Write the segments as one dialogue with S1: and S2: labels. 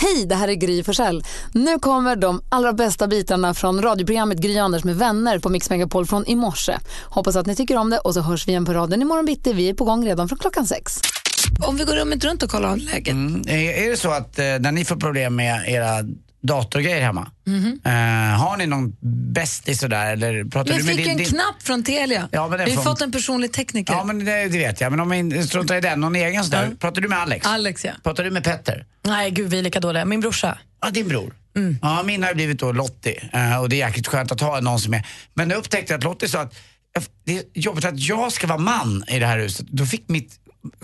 S1: Hej, det här är Gry Forssell. Nu kommer de allra bästa bitarna från radioprogrammet Gry Anders med vänner på Mix Megapol från i morse. Hoppas att ni tycker om det och så hörs vi igen på raden imorgon bitti. Vi är på gång redan från klockan sex.
S2: Om vi går rummet runt och kollar läget.
S3: Mm. Är är det så att eh, när ni får problem med era datorgrejer hemma, eh, har ni någon bästis sådär eller pratar
S2: Mhm. Jag
S3: du med
S2: fick ju en knapp från Telia.
S3: Ja, men det är
S2: vi har
S3: från-
S2: fått en personlig tekniker.
S3: Ja men det, det vet jag, men om vi in- struntar i den, någon egen sådär. Pratar du med Alex?
S2: Alex, ja.
S3: Pratar du med Petter?
S4: Nej, gud vi är lika dåliga. Min brorsa.
S3: Ja, din bror. Ja, min har ju blivit då Lottie eh, och det är jäkligt skönt att ha någon som är... Men jag upptäckte att Lottie sa att "Eff, det är jobbigt att jag ska vara man i det här huset. Då fick mitt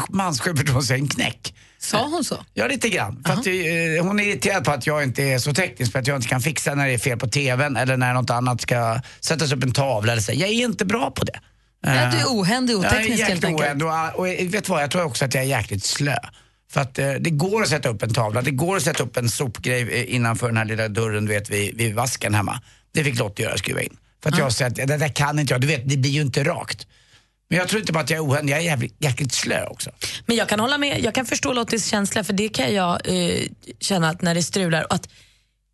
S3: mansjälvförtroende sig en knäck. Eh,
S2: Sa hon så?
S3: Ja, lite grann. För att, eh, hon är irriterad på att jag inte är så teknisk, för att jag inte kan fixa när det är fel på tvn eller när något annat ska sättas upp en tavla eller så. Jag är inte bra på det.
S2: Nej, att du är ohändig och
S3: Eh, Jag är
S2: oteknisk helt
S3: jäkligt
S2: enkelt.
S3: oänd och, och eh, vet du vad, jag tror också att jag är jäkligt slö. För att eh, det går att sätta upp en tavla, det går att sätta upp en sopgrej eh, innanför den här lilla dörren du vet vid, vid vasken hemma. Det fick Lottie göra, skruva in. För att jag säger att det där kan inte jag, du vet det blir ju inte rakt. Men jag tror inte bara att jag är ohändig, jag är jävligt, jäkligt slö också.
S4: Men jag kan hålla med, jag kan förstå Lottis känsla för det kan jag eh, känna att när det strular. och Att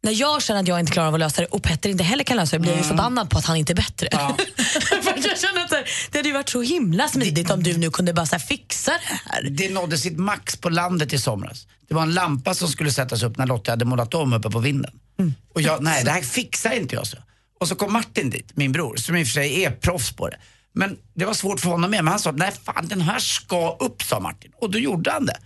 S4: när jag känner att jag inte klarar av att lösa det och Petter inte heller kan lösa det blir jag ju
S3: Mm.
S4: förbannad på att han inte är bättre. för att jag känner att så här, det hade ju varit så himla smidigt om du nu kunde bara så här, fixa det här.
S3: Det nådde sitt max på landet i somras. Det var en lampa som skulle sättas upp när Lotta hade målat om uppe på vinden.
S4: Mm.
S3: Och jag, nej det här fixar inte jag så. Och så kom Martin dit, min bror, som i och för sig är proffs på det. Men det var svårt för honom med, men han sa nej fan den här ska upp sa Martin. Och då gjorde han det.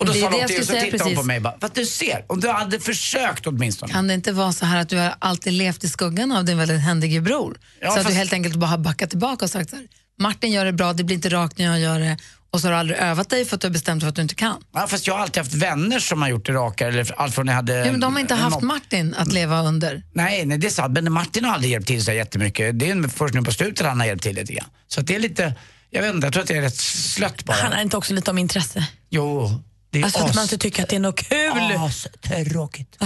S3: Och då
S1: Det är
S3: sa
S1: det jag
S3: Lotta, och
S1: skulle
S3: så
S1: säga
S3: tittade hon på
S1: precis.
S3: mig och bara, fast du ser, om du hade försökt åtminstone.
S2: Kan det inte vara så här att du har alltid levt i skuggan av din väldigt händige bror?
S3: Ja,
S2: så att
S3: fast-
S2: du helt enkelt bara har backat tillbaka och sagt så här, Martin gör det bra, det blir inte rakt när jag gör det. Och så har du aldrig övat dig för att du har bestämt dig för att du inte kan.
S3: Ja, fast jag har alltid haft vänner som har gjort det rakare, eller allt från när jag hade...
S2: Ja, men de
S3: eh,
S2: har inte haft Martin att leva under.
S3: Nej, nej, det är sant. Men Martin har aldrig hjälpt till så jättemycket. Det är först nu på slutet han har hjälpt till lite grann. Så att det är lite, jag vet inte, jag tror att det är rätt slött bara.
S4: Handlar det inte också lite om intresse?
S3: Jo, det är
S4: Alltså att man
S3: as,
S4: inte tycker att det är något kul.
S3: astråkigt.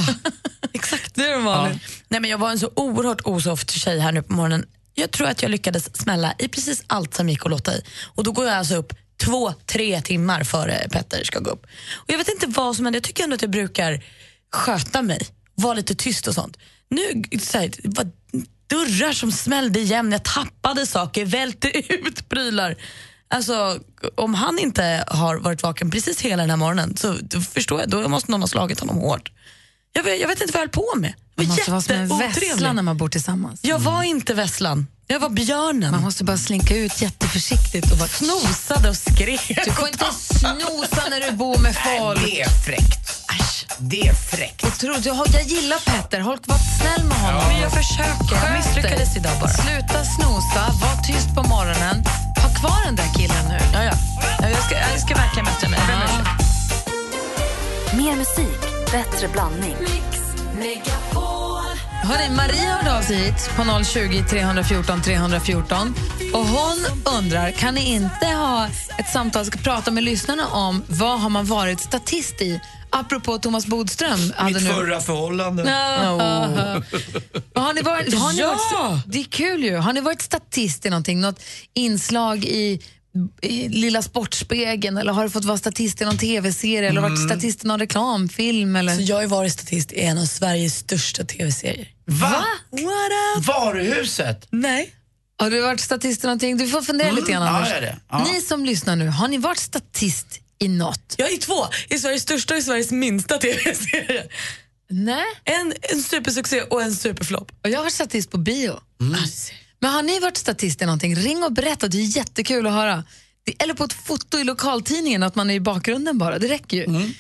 S4: Exakt, det är vanligt. Nej, men jag var en så oerhört osoft tjej här nu på morgonen. Jag tror att jag lyckades smälla i precis allt som gick att låta i. Och då går jag alltså upp två, tre timmar före Petter ska gå upp. Och jag vet inte vad som händer, jag tycker ändå att jag brukar sköta mig, vara lite tyst och sånt. Nu så här, det var dörrar som smällde igen, jag tappade saker, välte ut prylar. Alltså, om han inte har varit vaken precis hela den här morgonen så då förstår jag, då måste någon ha slagit honom hårt. Jag vet, jag vet inte vad jag höll på med.
S2: Man
S4: Jag var
S2: måste vara Alltså, som en vessla
S4: jätteotrevlig.
S2: när man bor tillsammans.
S4: Jag var
S3: Mm.
S4: inte vässlan. Jag var björnen.
S2: Man måste bara slinka ut jätteförsiktigt och vara
S4: Snosade och skrek.
S2: Du får inte snosa när du bor med folk.
S3: Det är fräckt. Det är fräckt.
S2: Jag, tror, jag, jag gillar Petter, Håll- var snäll med honom.
S4: Men jag försöker. Jag
S2: Sköt
S4: misslyckades
S2: dig.
S4: idag bara.
S2: Sluta snosa, var tyst på morgonen. Ha kvar den där killen nu.
S4: Ja, ja. Ja, Jag, ska, jag ska verkligen bättra mig. Jag ber om ursäkt.
S5: Mer musik, bättre blandning.
S2: Hörrni, Maria hörde av sig hit på 020 314 314 och hon undrar, kan ni inte ha ett samtal, ska prata med lyssnarna om vad har man varit statist i? Apropå Thomas Bodström. hade nu-
S3: förhållande.
S2: Har ni varit, har ni
S4: Ja!
S2: varit, det är kul ju. Har ni varit statist i någonting? Något inslag i, i Lilla Sportspegeln eller har du fått vara statist i någon tv-serie eller varit statist i någon reklamfilm? Eller?
S4: Så jag har ju varit statist i en av Sveriges största tv-serier.
S3: Va?
S4: What up?
S3: Varuhuset?
S4: Nej.
S2: Har du varit statist i någonting? Du får fundera lite grann
S3: Mm. ja,
S2: Anders.
S3: jag är det. Ja.
S2: Ni som lyssnar nu, har ni varit statist i något?
S4: Jag är i två. I Sveriges största och i Sveriges minsta tv-serie.
S2: Nej,
S4: En, en supersuccé och en superflopp.
S2: och jag har varit statist på bio.
S3: Mm.
S4: Alltså,
S2: Men har ni varit statist i någonting? Ring och berätta, det är jättekul att höra. Det- Eller på ett foto i lokaltidningen, att man är i bakgrunden bara. Det räcker ju.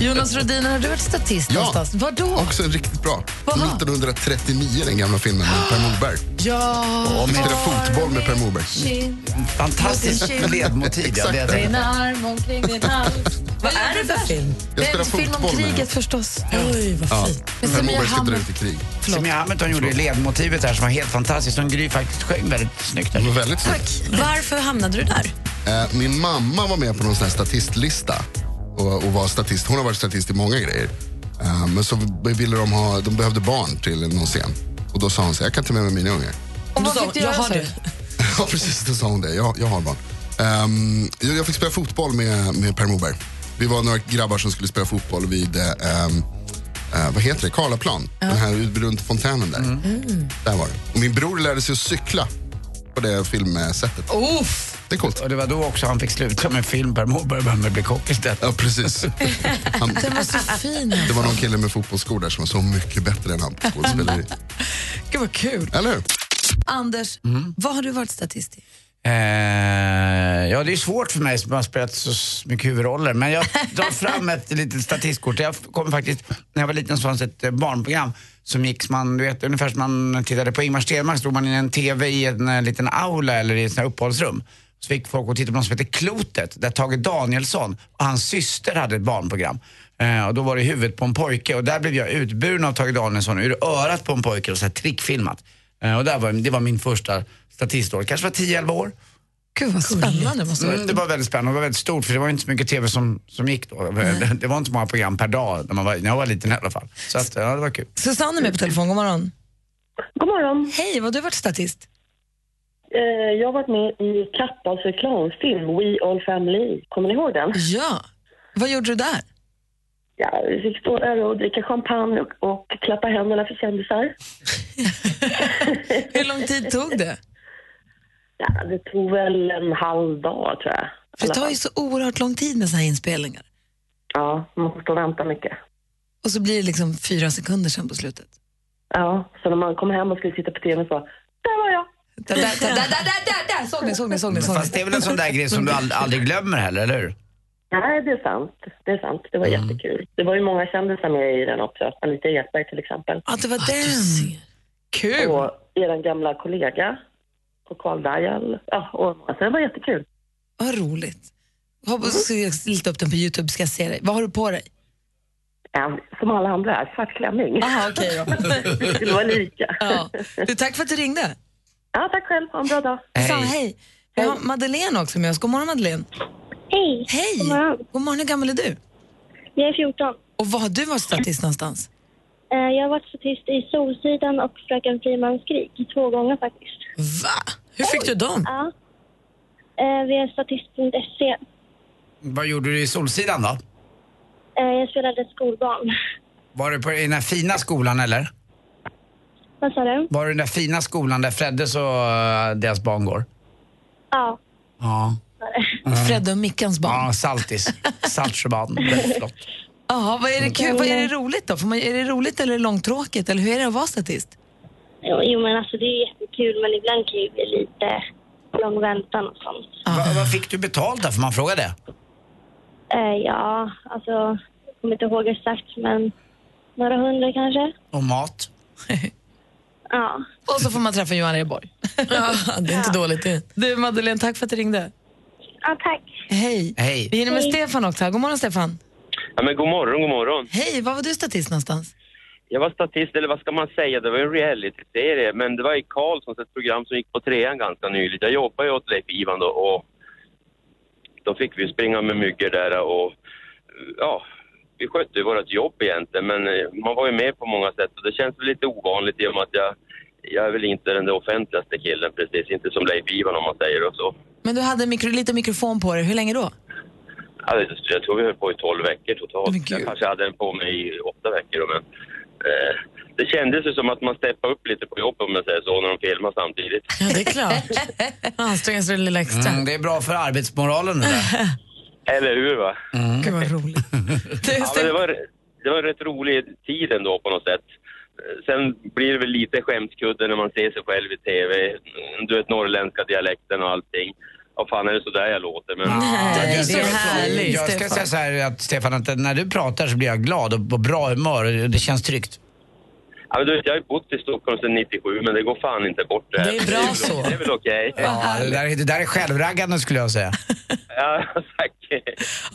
S2: Jonas Rhodiner, har du varit statist
S6: Ja.
S2: någonstans? Var då?
S6: Också en riktigt bra. Från
S2: Jaha.
S6: 1939, den gamla filmen med Per Morberg.
S2: Ja,
S6: Vi spelade fotboll med Per Morberg.
S3: Fantastiskt ledmotiv. ja, det är det.
S2: din arm omkring din hals. Vad
S4: Vad är det för film?
S6: Jag
S2: En
S6: spelar
S2: film om
S6: fotboll med
S2: kriget förstås.
S4: Oj, vad fint.
S2: Med
S6: Per
S2: Samir
S6: Morberg ska dra
S2: Hammer.
S6: ut i krig.
S3: Samia Hamilton gjorde ju ledmotivet här som var helt fantastiskt. Som Gry faktiskt sjöng väldigt snyggt.
S6: Det
S3: Där.
S6: var väldigt snyggt.
S4: Varför hamnade du där?
S6: Eh, Min mamma var med på någon sån här statistlista och, och var statist. Hon har varit statist i många grejer. Eh, Men så ville de ha, de behövde barn till någon scen. Och då sa hon så här, jag kan ta med mig mina ungar.
S4: Då
S2: Och vad
S4: sa
S2: fick du
S4: hon,
S2: göra?
S4: "Jag har
S2: sa du?
S4: det."
S6: Ja, precis. Då sa hon det. Jag, jag har barn. Ehm, jag, jag fick spela fotboll med, med Per Morberg. Vi var några grabbar som skulle spela fotboll vid eh, ehm, eh, vad heter det, Karlaplan. Den här ute runt fontänen där.
S3: Mm.
S6: Mm. Där var det. Och min bror lärde sig att cykla på det filmsättet.
S2: Uff.
S6: Det är coolt.
S3: Och det var då också han fick sluta med film. Per Morberg började med att bli kock istället.
S6: Ja, precis. Han,
S2: Den var så fin.
S6: det var någon kille med fotbollsskor där som var så mycket bättre än han på skådespeleri.
S2: Gud vad kul.
S6: Eller hur?
S2: Anders, vad har du varit statist i?
S3: Eh, ja, det är svårt för mig som har spelat så s- mycket huvudroller. Men jag drar fram ett litet statistkort. Jag kommer faktiskt, när jag var liten så fanns ett eh, barnprogram som gick som man, du vet, ungefär som man tittade på Ingmar Stenmark, så drog man in en TV i en eh, liten aula eller i ett sånt här uppehållsrum. Så fick folk att titta på något som heter Klotet, där Tage Danielsson och hans syster hade ett barnprogram. Eh, och då var det i huvudet på en pojke och där blev jag utburen av Tage Danielsson ur örat på en pojke och så här trickfilmat. Eh, och där var, det var min första statistroll, kanske var 10-11 år.
S2: Gud vad spännande måste det
S3: Mm, det var väldigt spännande, det var väldigt stort för det var inte så mycket tv som, som gick då. Det, det var inte så många program per dag när, man var, när jag var liten i alla fall. Så att, ja, det var kul.
S2: Susanne är med på telefon, god morgon.
S7: God morgon.
S2: Hej, vad har du varit statist?
S7: Eh, Jag har varit med i Kappahls reklamfilm We All Family. Kommer ni ihåg den?
S2: Ja. Vad gjorde du där?
S7: Ja, vi fick stå där och dricka champagne och, och klappa händerna för kändisar.
S2: Hur lång tid tog det?
S7: Ja, det tog väl en halv dag, tror jag.
S2: För det tar ju så oerhört lång tid med såna här inspelningar.
S7: Ja, man får stå och vänta mycket.
S2: Och så blir det liksom fyra sekunder sen på slutet.
S7: Ja, så när man kom hem och skulle titta på tv så... Där var jag!
S2: Där, där, där, där, där, där, där! Såg ni, såg ni, såg ni? Såg
S3: Fast det
S2: ni.
S3: är väl en sån där grej som du ald- aldrig glömmer heller, eller hur?
S7: Nej, det är sant. Det är sant. Det var
S2: Mm.
S7: jättekul. Det var ju många kändisar med i den också. Anita Ekberg till exempel.
S2: Ja, det var den. Kul!
S7: Och er gamla kollega. Och Carl Dajal. Ja, och, alltså, det var jättekul.
S2: Vad roligt.
S7: Mm.
S2: Hoppas jag ska leta upp den på Youtube ska jag se dig. Vad har du på dig?
S7: Ja, som alla andra, svart klänning.
S2: Aha, okej då.
S7: Vi skulle vara lika.
S2: Ja. Du, tack för att du ringde.
S7: Ja, tack själv. Ha en bra dag.
S2: Hej. hej. Vi har Madeleine också med oss. God morgon Madeleine.
S8: Hej,
S2: Hej!
S8: God morgon.
S2: God morgon, hur gammal är du?
S8: jag är 14.
S2: Och var har du varit statist någonstans?
S8: Eh, Jag har varit statist i Solsidan och Fröken Frimans krig två gånger faktiskt.
S2: Va?
S4: Hur fick du dem?
S8: Ja. Eh, Via statist.se.
S3: Vad gjorde du i Solsidan då?
S8: Eh, Jag spelade skolbarn.
S3: Var du på i den här fina skolan eller?
S8: Vad sa du?
S3: Var du i den där fina skolan där Freddes och eh, deras barn går?
S8: Ja.
S3: Ja.
S2: Fredde och Mickans barn.
S3: Ja, Saltis. Saltsjöbaden. Väldigt flott.
S2: Jaha, vad är det kul? Vad är det roligt då? Får man, är det roligt eller är det långtråkigt? Eller hur är det att vara statist?
S8: Jo, Jo, men alltså det är jättekul, men ibland kan det ju bli lite lång väntan och sånt.
S3: Va, vad fick du betalt där? Får man fråga det?
S8: Eh, Ja, alltså, jag kommer inte ihåg exakt, men några hundra kanske.
S3: Och mat?
S8: Ja.
S2: Och så får man träffa Johan Rheborg.
S4: Det är inte dåligt det.
S2: Du Madeleine, tack för att du ringde.
S8: Ja, tack.
S2: Hej.
S3: Hej.
S2: Vi hinner med Stefan också. här. God morgon Stefan.
S9: Ja, men god morgon, god morgon.
S2: Hej, var var du statist någonstans?
S9: Jag var statist, eller vad ska man säga, det var en realityserie, men det var i Karlssons, ett program som gick på trean ganska nyligt. Jag jobbade ju åt Leif Ivan då och då fick vi springa med myggor där och ja, vi skötte ju vårt jobb egentligen, men eh, man var ju med på många sätt och det känns väl lite ovanligt i och med att jag, jag är väl inte den där offentligaste killen precis, inte som Leif Ivan om man säger och så.
S2: Men du hade mikro, lite mikrofon på dig. Hur länge då?
S9: Ja, det- Jag tror vi höll på i 12 veckor totalt.
S2: Men gud.
S9: Jag kanske hade den på mig i åtta veckor. då, Men, eh, det kändes ju som att man steppade upp lite på jobbet om jag säger så, när de filmar samtidigt.
S4: Ja, det är klart. Anstränga sig lite extra.
S3: Mm, det är bra för arbetsmoralen det där.
S9: Eller hur? va?
S3: Mm.
S2: Gud vad roligt. Du,
S9: Ja, men det,
S2: Ste-
S9: var, det var en rätt rolig tid ändå på något sätt. Eh, Sen blir det väl lite skämskudde när man ser sig själv i TV. Mm, Du vet, norrländska dialekten och allting. Ja, fan är det så där jag låter? Men...
S3: Ja,
S4: det är
S3: ska-
S4: härligt,
S3: Jag ska
S4: Stefan.
S3: säga så här att Stefan, att när du pratar så blir jag glad och på bra humör och det känns tryggt.
S9: Ja, men du vet, jag har ju bott i Stockholm sedan 97, men det går fan inte bort det här.
S4: Det är bra
S9: väl-
S4: så.
S9: Det är väl okej?
S3: Ja, det, där, det där är självraggande skulle jag säga.
S9: Ja, tack.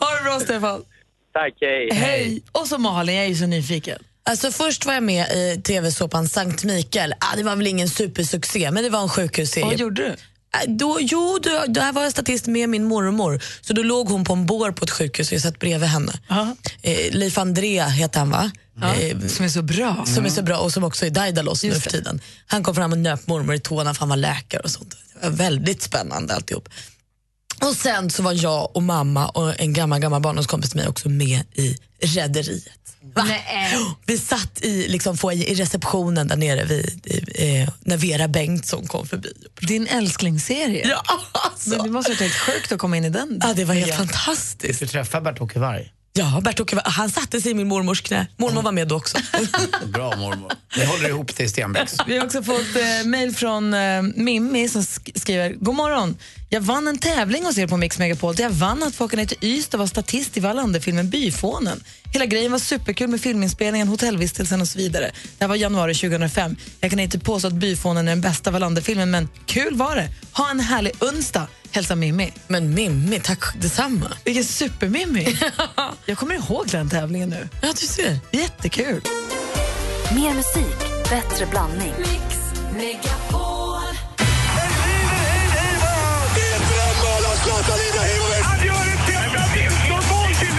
S2: ha det bra Stefan.
S9: Tack, hej.
S2: Hej. Och så Malin, jag är ju så nyfiken.
S4: Alltså först var jag med i tv-såpan Sankt Mikael. Ah, det var väl ingen supersuccé, men det var en
S2: Vad
S4: sjukhusserie.
S2: gjorde du?
S4: Ah, Då, jo, då, där var jag statist med min mormor. Så då låg hon på en bår på ett sjukhus och jag satt bredvid henne.
S2: Ja.
S4: Eh, Leif André heter han va? Eh,
S2: Som är så bra.
S4: som är så bra och som också är Daidalos nu för tiden. Han kom fram och nöp mormor i tårna för han var läkare och sånt. Det var väldigt spännande alltihop. Och sen så var jag och mamma och en gammal, gammal barndomskompis till mig också med i Rederiet. Va? Vi satt i, liksom, foyer- i receptionen där nere vid, eh, när Vera Bengtsson kom förbi.
S2: Din älsklingsserie.
S4: Ja, alltså.
S2: Men det måste ha varit helt sjukt att komma in i den.
S4: ja, det var helt fantastiskt.
S3: Du träffar Bert-Åke Varg.
S4: Ja, Bert-Åke, var- han satte sig i min mormors knä. Mormor var med då också.
S3: Bra mormor. Ni håller ihop till Stenbecks.
S2: Vi har också fått eh, mejl från eh, Mimmi som sk- skriver God morgon. Jag vann en tävling hos er på Mix Megapol där jag vann att få åka ner till Ystad och vara statist i Wallander-filmen Byfånen. Hela grejen var superkul med filminspelningen, hotellvistelsen och så vidare. Det här var januari 2005. Jag kan inte påstå att Byfånen är den bästa Wallander-filmen men kul var det. Ha en härlig onsdag. Hälsa Mimmi.
S4: Men Mimmi, tack detsamma.
S2: Vilken supermimmi. Jag kommer ihåg den tävlingen nu.
S4: Ja, du ser.
S2: Jättekul.
S5: Mer musik, bättre blandning.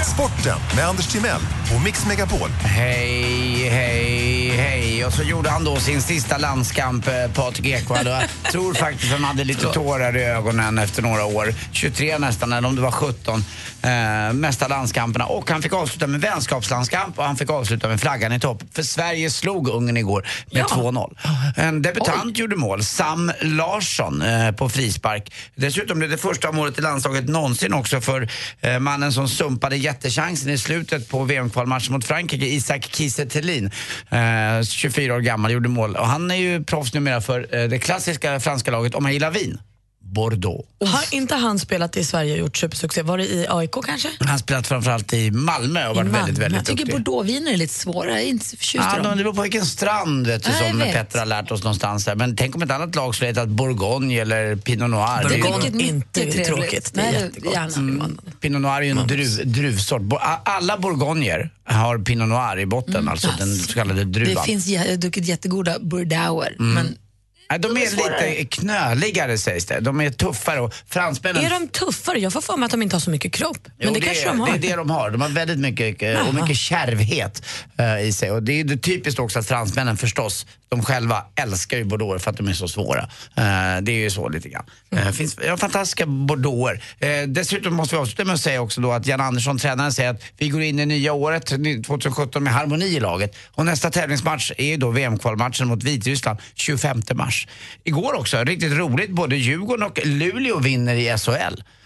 S10: Sporten med Anders Timell och Mix Megapol.
S3: Hej, hej, hej. Och så gjorde han då sin sista landskamp, eh, Patrik Ekwall. Och Jag tror faktiskt han hade lite tårar i ögonen efter några år. 23 nästan, eller om det var 17. Eh, mesta landskamperna. Och han fick avsluta med vänskapslandskamp och han fick avsluta med flaggan i topp. För Sverige slog Ungern igår med 2-0. En debutant gjorde mål, Sam Larsson, eh, på frispark. Dessutom blev det första målet i landslaget någonsin också för eh, mannen som sumpade jättechansen i slutet på VM-kvalmatchen mot Frankrike, Isak Kiese Thelin. Eh, 24 år gammal, gjorde mål. Och han är ju proffs numera för eh, det klassiska franska laget, om man gillar vin, Bordeaux.
S4: Har inte han spelat i Sverige och gjort supersuccé? Var det i AIK kanske?
S3: Han har spelat framförallt i Malmö och varit väldigt, väldigt
S2: Jag tycker
S3: duktig.
S2: bordeauxviner är lite svåra. Jag är inte så förtjust i
S3: Ja,
S2: dem.
S3: de, det beror på vilken strand vet du,
S2: Ja, jag
S3: som
S2: vet.
S3: Petter har lärt oss någonstans. Här. Men tänk om ett annat lag skulle hetat Bourgogne eller Pinot Noir. Det är ju-
S4: Bourgogne.
S2: Vilket
S4: Inte
S2: mycket trevligt.
S4: tråkigt, det är
S2: Nej,
S4: jättegott. Mm.
S2: Gärna. Mm.
S3: Pinot Noir är ju en druv, druvsort. Bo- a- Alla bourgogner har Pinot Noir i botten, alltså den så kallade druvan.
S2: Mm.
S3: Mm.
S2: Det finns jag har druckit jättegoda bordeauxer, men
S3: Nej, de är lite knöligare sägs det. De är tuffare och fransmännen...
S4: Är de tuffare? Jag får för mig att de inte har så mycket kropp. Men
S3: Jo,
S4: det, kanske
S3: är,
S4: de har.
S3: Det är det de har. De har väldigt mycket, eh, och mycket kärvhet eh, i sig. Och det är ju det typiskt också att fransmännen förstås, de själva älskar ju bordeauxer för att de är så svåra. Eh, det är ju så lite grann.
S4: Mm.
S3: Eh, finns ja, fantastiska bordeauxer. Eh, dessutom måste vi avsluta med att säga också då att Jan Andersson, tränaren, säger att vi går in i nya året, ny- 2017, med harmoni i laget. Och nästa tävlingsmatch är ju då VM-kvalmatchen mot Vitryssland 25 mars. Igår också, riktigt roligt, både Djurgården och Luleå vinner i SHL.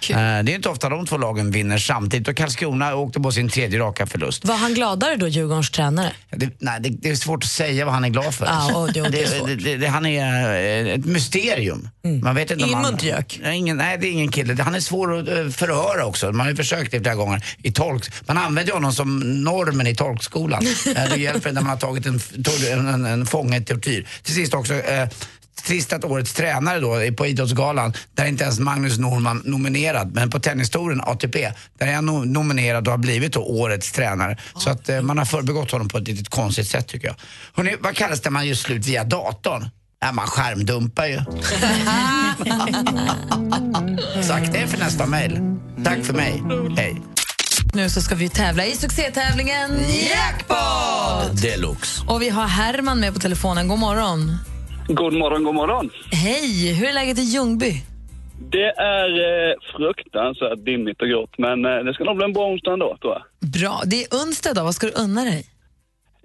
S3: Eh, det är inte ofta de två lagen vinner samtidigt och Karlskrona åkte på sin tredje raka förlust.
S4: Var han gladare då, Djurgårdens tränare?
S3: Det, nej, det, det är svårt att säga vad han är glad för.
S4: Ja, och det är
S3: det,
S4: svårt. Mm.
S3: det, det, det, han är eh, ett mysterium. Man vet inte om
S4: Ingen
S3: han-
S4: muntgök?
S3: Nej, Ingen, nej, det är ingen kille. Han är svår att eh, förhöra också. Man har ju försökt det flera gånger. I tolk, man använder ju honom som normen i tolkskolan. Eh, det hjälper när man har tagit en, f- tor- en, en, en fånge i tortyr. Till sist också, eh, Trist att årets tränare då är på Idrottsgalan, där inte ens Magnus Norman nominerad, men på Tennistouren ATP, där är han no- nominerad och har blivit då årets tränare. Så att eh, man har förbegått honom på ett litet konstigt sätt tycker jag. Hörrni, vad kallas det man gör slut via datorn? Ja, man skärmdumpar ju. Sagt det för nästa mejl. Tack för mig. Hej.
S2: nu så ska vi tävla i succétävlingen Jackpot!
S3: Deluxe.
S2: Och vi har Herman med på telefonen. God morgon.
S9: God morgon, god morgon.
S2: Hej, hur är läget i Ljungby?
S9: Det är eh, fruktansvärt dimmigt och grått, men eh, det ska nog bli en bra onsdag ändå, tror jag.
S2: Bra. Det är onsdag idag. Vad ska du unna dig?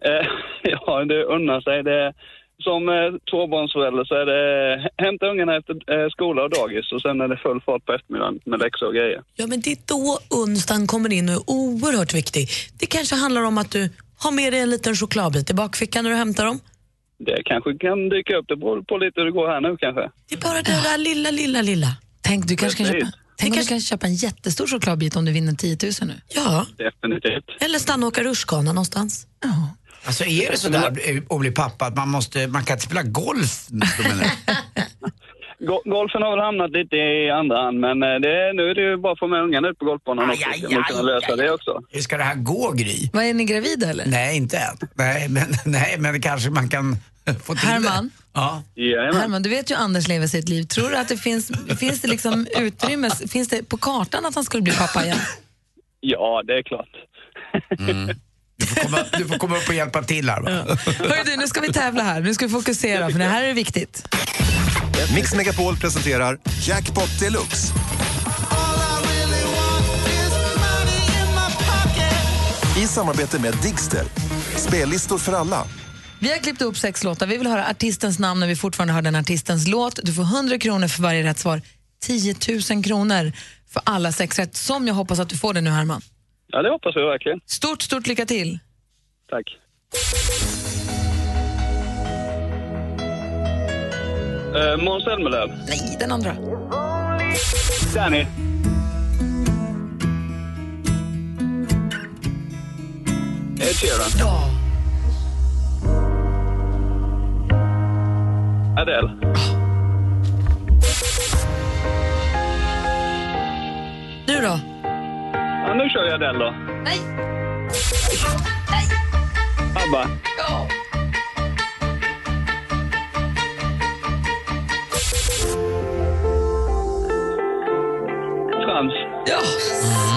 S9: Eh, ja, det unnar sig. Det, som eh, tvåbarnsförälder så är det eh, hämta ungarna efter eh, skola och dagis och sen är det full fart på eftermiddagen med läxor och grejer.
S4: Ja, men det är då onsdagen kommer in och är oerhört viktig. Det kanske handlar om att du har med dig en liten chokladbit i bakfickan när du hämtar dem.
S9: Det kanske kan dyka upp, det beror på lite hur det går här nu kanske.
S4: Det är bara det där lilla, lilla, lilla.
S2: Tänk, du kanske kan
S9: Precis.
S2: köpa, tänk om du kan köpa en jättestor chokladbit om du vinner 10 000 nu.
S4: Ja,
S9: Definitivt.
S4: eller stanna och åka rutschkana någonstans.
S3: Alltså är det sådär att bli pappa att man, måste, man kan inte spela golf?
S9: Go- golfen har väl hamnat lite i andra hand, men eh, det, är- nu är det ju bara att få med ungarna ut på golfbanan också.
S3: Aj,
S9: så
S3: aj,
S9: man kan
S3: aj,
S9: lösa
S3: aj.
S9: det också.
S3: Hur ska det här gå Gry?
S2: Vad Är ni gravida eller?
S3: Nej, inte än. Nej, men, nej, men kanske man kan få till
S2: Herman?
S3: det. Ja.
S9: Jajamän.
S2: Herman, du vet ju Anders lever sitt liv. Tror du att det finns, finns det liksom utrymme, finns det på kartan att han skulle bli pappa igen?
S9: Ja, det är klart.
S3: Mm. Du, får komma, du får komma upp och hjälpa till här. Va?
S2: Hörru du, nu ska vi tävla här. Nu ska vi fokusera, för det här är viktigt.
S10: Mix Megapol presenterar Jackpot Deluxe.
S5: Mer musik,
S10: I samarbete med Digster. Spellistor för alla.
S2: Vi har klippt upp sex låtar. Vi vill höra artistens namn när vi fortfarande hör den artistens låt. Du får 100 kronor för varje rätt svar. 10 000 kronor för alla sex rätt, som jag hoppas att du får det nu, Herman.
S11: Ja, det hoppas vi verkligen.
S2: Stort, stort lycka till.
S11: Tack. Eh, Måns Zelmerlöw.
S2: Nej, den andra.
S11: Danny. Ed Sheeran.
S2: Ja.
S11: Adele.
S2: Du då?
S11: Ja, nu kör jag Adele då.
S2: Nej.
S11: ABBA.
S2: Ja.
S11: Frans.
S2: Ja.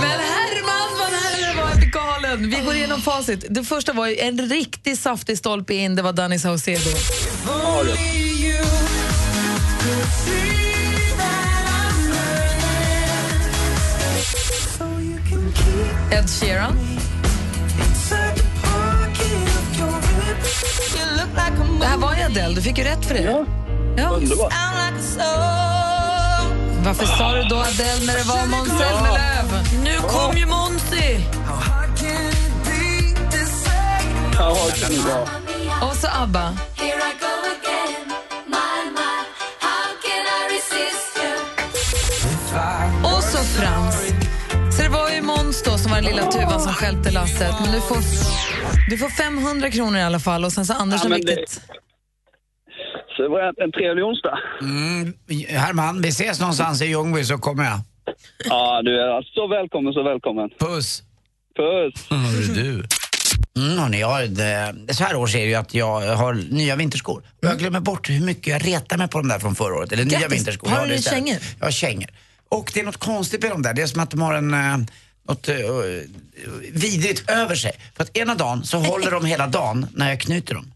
S2: Men Herman van Herre var helt galen. Vi går igenom facit. Det första var ju en riktig saftig stolpe in. Det var Danny Saucedo.
S11: Arius.
S2: Ed Sheeran. Det här var ju Adele. Du fick ju rätt för det. Ja.
S11: Underbart.
S2: Varför sa du då Adele när det var Måns Zelmerlöw?
S4: Nu kom ju Monty!
S11: Ja, den är bra.
S2: Och så ABBA. Och så Frans. Så det var ju Måns då som var den lilla tuvan som stjälpte lasset. Men du får, du får 500 kronor i alla fall och sen så Anders
S11: Ja,
S2: ja,
S11: men det-
S2: vilket...
S11: Så det var en trevlig onsdag.
S3: Mm, Herman, vi ses någonstans i Ljungby så kommer jag.
S11: Ja, du är alltså så välkommen, så välkommen.
S3: Puss!
S11: Puss.
S3: Mm, du. Mm, hörni, jag, har det, så här års är det ju att jag har nya vinterskor. Och jag glömmer bort hur mycket jag retar mig på de där från förra året. Eller nya
S2: Mm. Grattis.
S3: vinterskor.
S2: Har
S3: Jag
S2: du
S3: det
S2: i
S3: istället.
S2: kängor?
S3: Jag har kängor. Och det är något konstigt med de där. Det är som att de har en... eh, Något eh, vidrigt över sig. För att ena dagen så håller de hela dagen när jag knyter dem.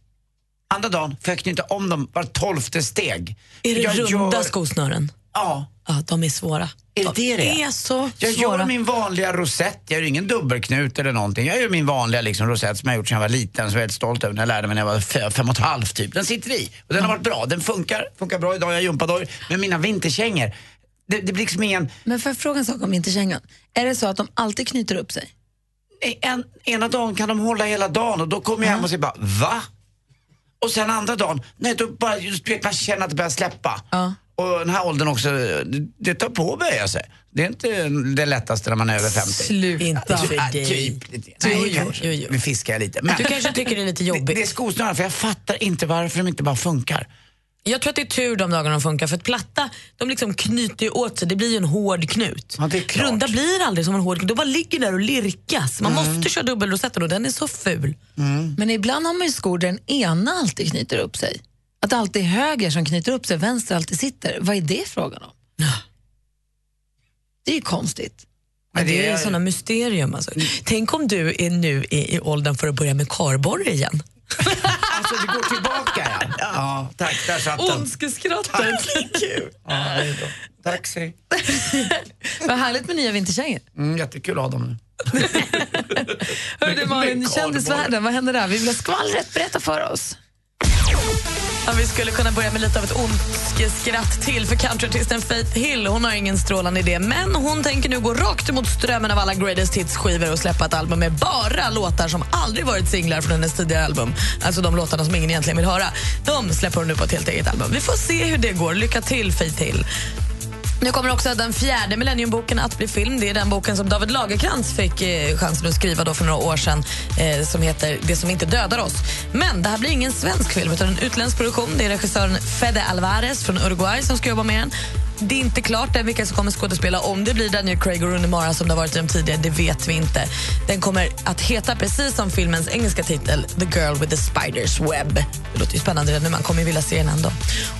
S3: Andra dagen får jag knyta om dem var tolfte steg.
S4: Är det
S3: jag
S4: runda
S3: gör-
S4: skosnören?
S3: Ja.
S4: Ja, de är svåra.
S3: Är det det det
S4: De är så
S3: Jag gör
S4: svåra.
S3: min vanliga rosett, jag gör ingen dubbelknut eller någonting. Jag gör min vanliga liksom, rosett som jag gjort sedan jag var liten, som jag är väldigt stolt över när jag lärde mig när jag var fem, fem och ett halvt typ. Den sitter i och den har varit bra. Den funkar, funkar bra idag, jag har gympadojor. Men mina vinterkängor, det, det blir liksom ingen...
S2: Men får jag fråga en sak om vinterkängan? Är det så att de alltid knyter upp sig?
S3: En, ena dagen kan de hålla hela dagen och då kommer jag hem och säger bara va? Och sen andra dagen, nej då bara, just, vet, man känner att det börjar släppa.
S2: Ja.
S3: Och den här åldern också, det, det tar på att böja sig. Det är inte det lättaste när man är över 50.
S4: Inte
S3: Ja,
S4: för dig.
S3: Typ. lite. Nej, kanske.
S4: jo, jo.
S3: Nu fiskar jag lite. Men
S4: Du kanske tycker det är lite
S3: det, det är
S4: jobbigt.
S3: skosnören, för jag fattar inte varför de inte bara funkar.
S4: Jag tror att det är tur de dagarna de funkar för att platta, de liksom knyter ju åt sig. Det blir ju en hård knut.
S3: Ja, det är klart.
S4: Runda blir aldrig som en hård knut. De bara ligger där och lirkas. Man
S3: Mm.
S4: måste köra dubbelrosetten och den är så ful.
S11: Mm.
S2: Men ibland har man ju skor där den ena alltid knyter upp sig. Att det alltid är höger som knyter upp sig, vänster alltid sitter. Vad är det frågan om? Det är ju konstigt.
S4: Men det, är
S3: är- Mm.
S4: ju sådana mysterium. Alltså. Tänk om du är nu i, i åldern för att börja med karborre igen.
S3: Alltså det går tillbaka. Ja, ja tack. Där satt den.
S4: Ondskeskrattet.
S3: Ja, det är bra. Tack Siri.
S2: Vad härligt med nya vinterkängor.
S3: Mm, jättekul att ha dem nu.
S2: Hörru du Malin,
S3: Men
S2: kändisvärlden, vad händer där? Vi vill ha skvallret, berätta för oss.
S4: Ja, vi skulle kunna börja med lite av ett ondskeskratt till för countryartisten Faith Hill. Hon har ingen strålande idé, men hon tänker nu gå rakt emot strömmen av alla greatest hits-skivor och släppa ett album med bara låtar som aldrig varit singlar från hennes tidigare album. Alltså de låtarna som ingen egentligen vill höra. De släpper hon nu på ett helt eget album. Vi får se hur det går. Lycka till, Faith Hill. Nu kommer också den fjärde Millenniumboken att bli film. Det är den boken som David Lagercrantz fick eh, chansen att skriva då för några år sedan eh, som heter Det som inte dödar oss. Men det här blir ingen svensk film utan en utländsk produktion. Det är regissören Fede Alvarez från Uruguay som ska jobba med den. Det är inte klart än vilka som kommer skådespela. Om det blir Daniel Craig och Rooney Mara som det har varit i de tidigare, det vet vi inte. Den kommer att heta precis som filmens engelska titel The Girl with the Spiders Web. Det låter ju spännande redan nu, man kommer ju vilja se den ändå.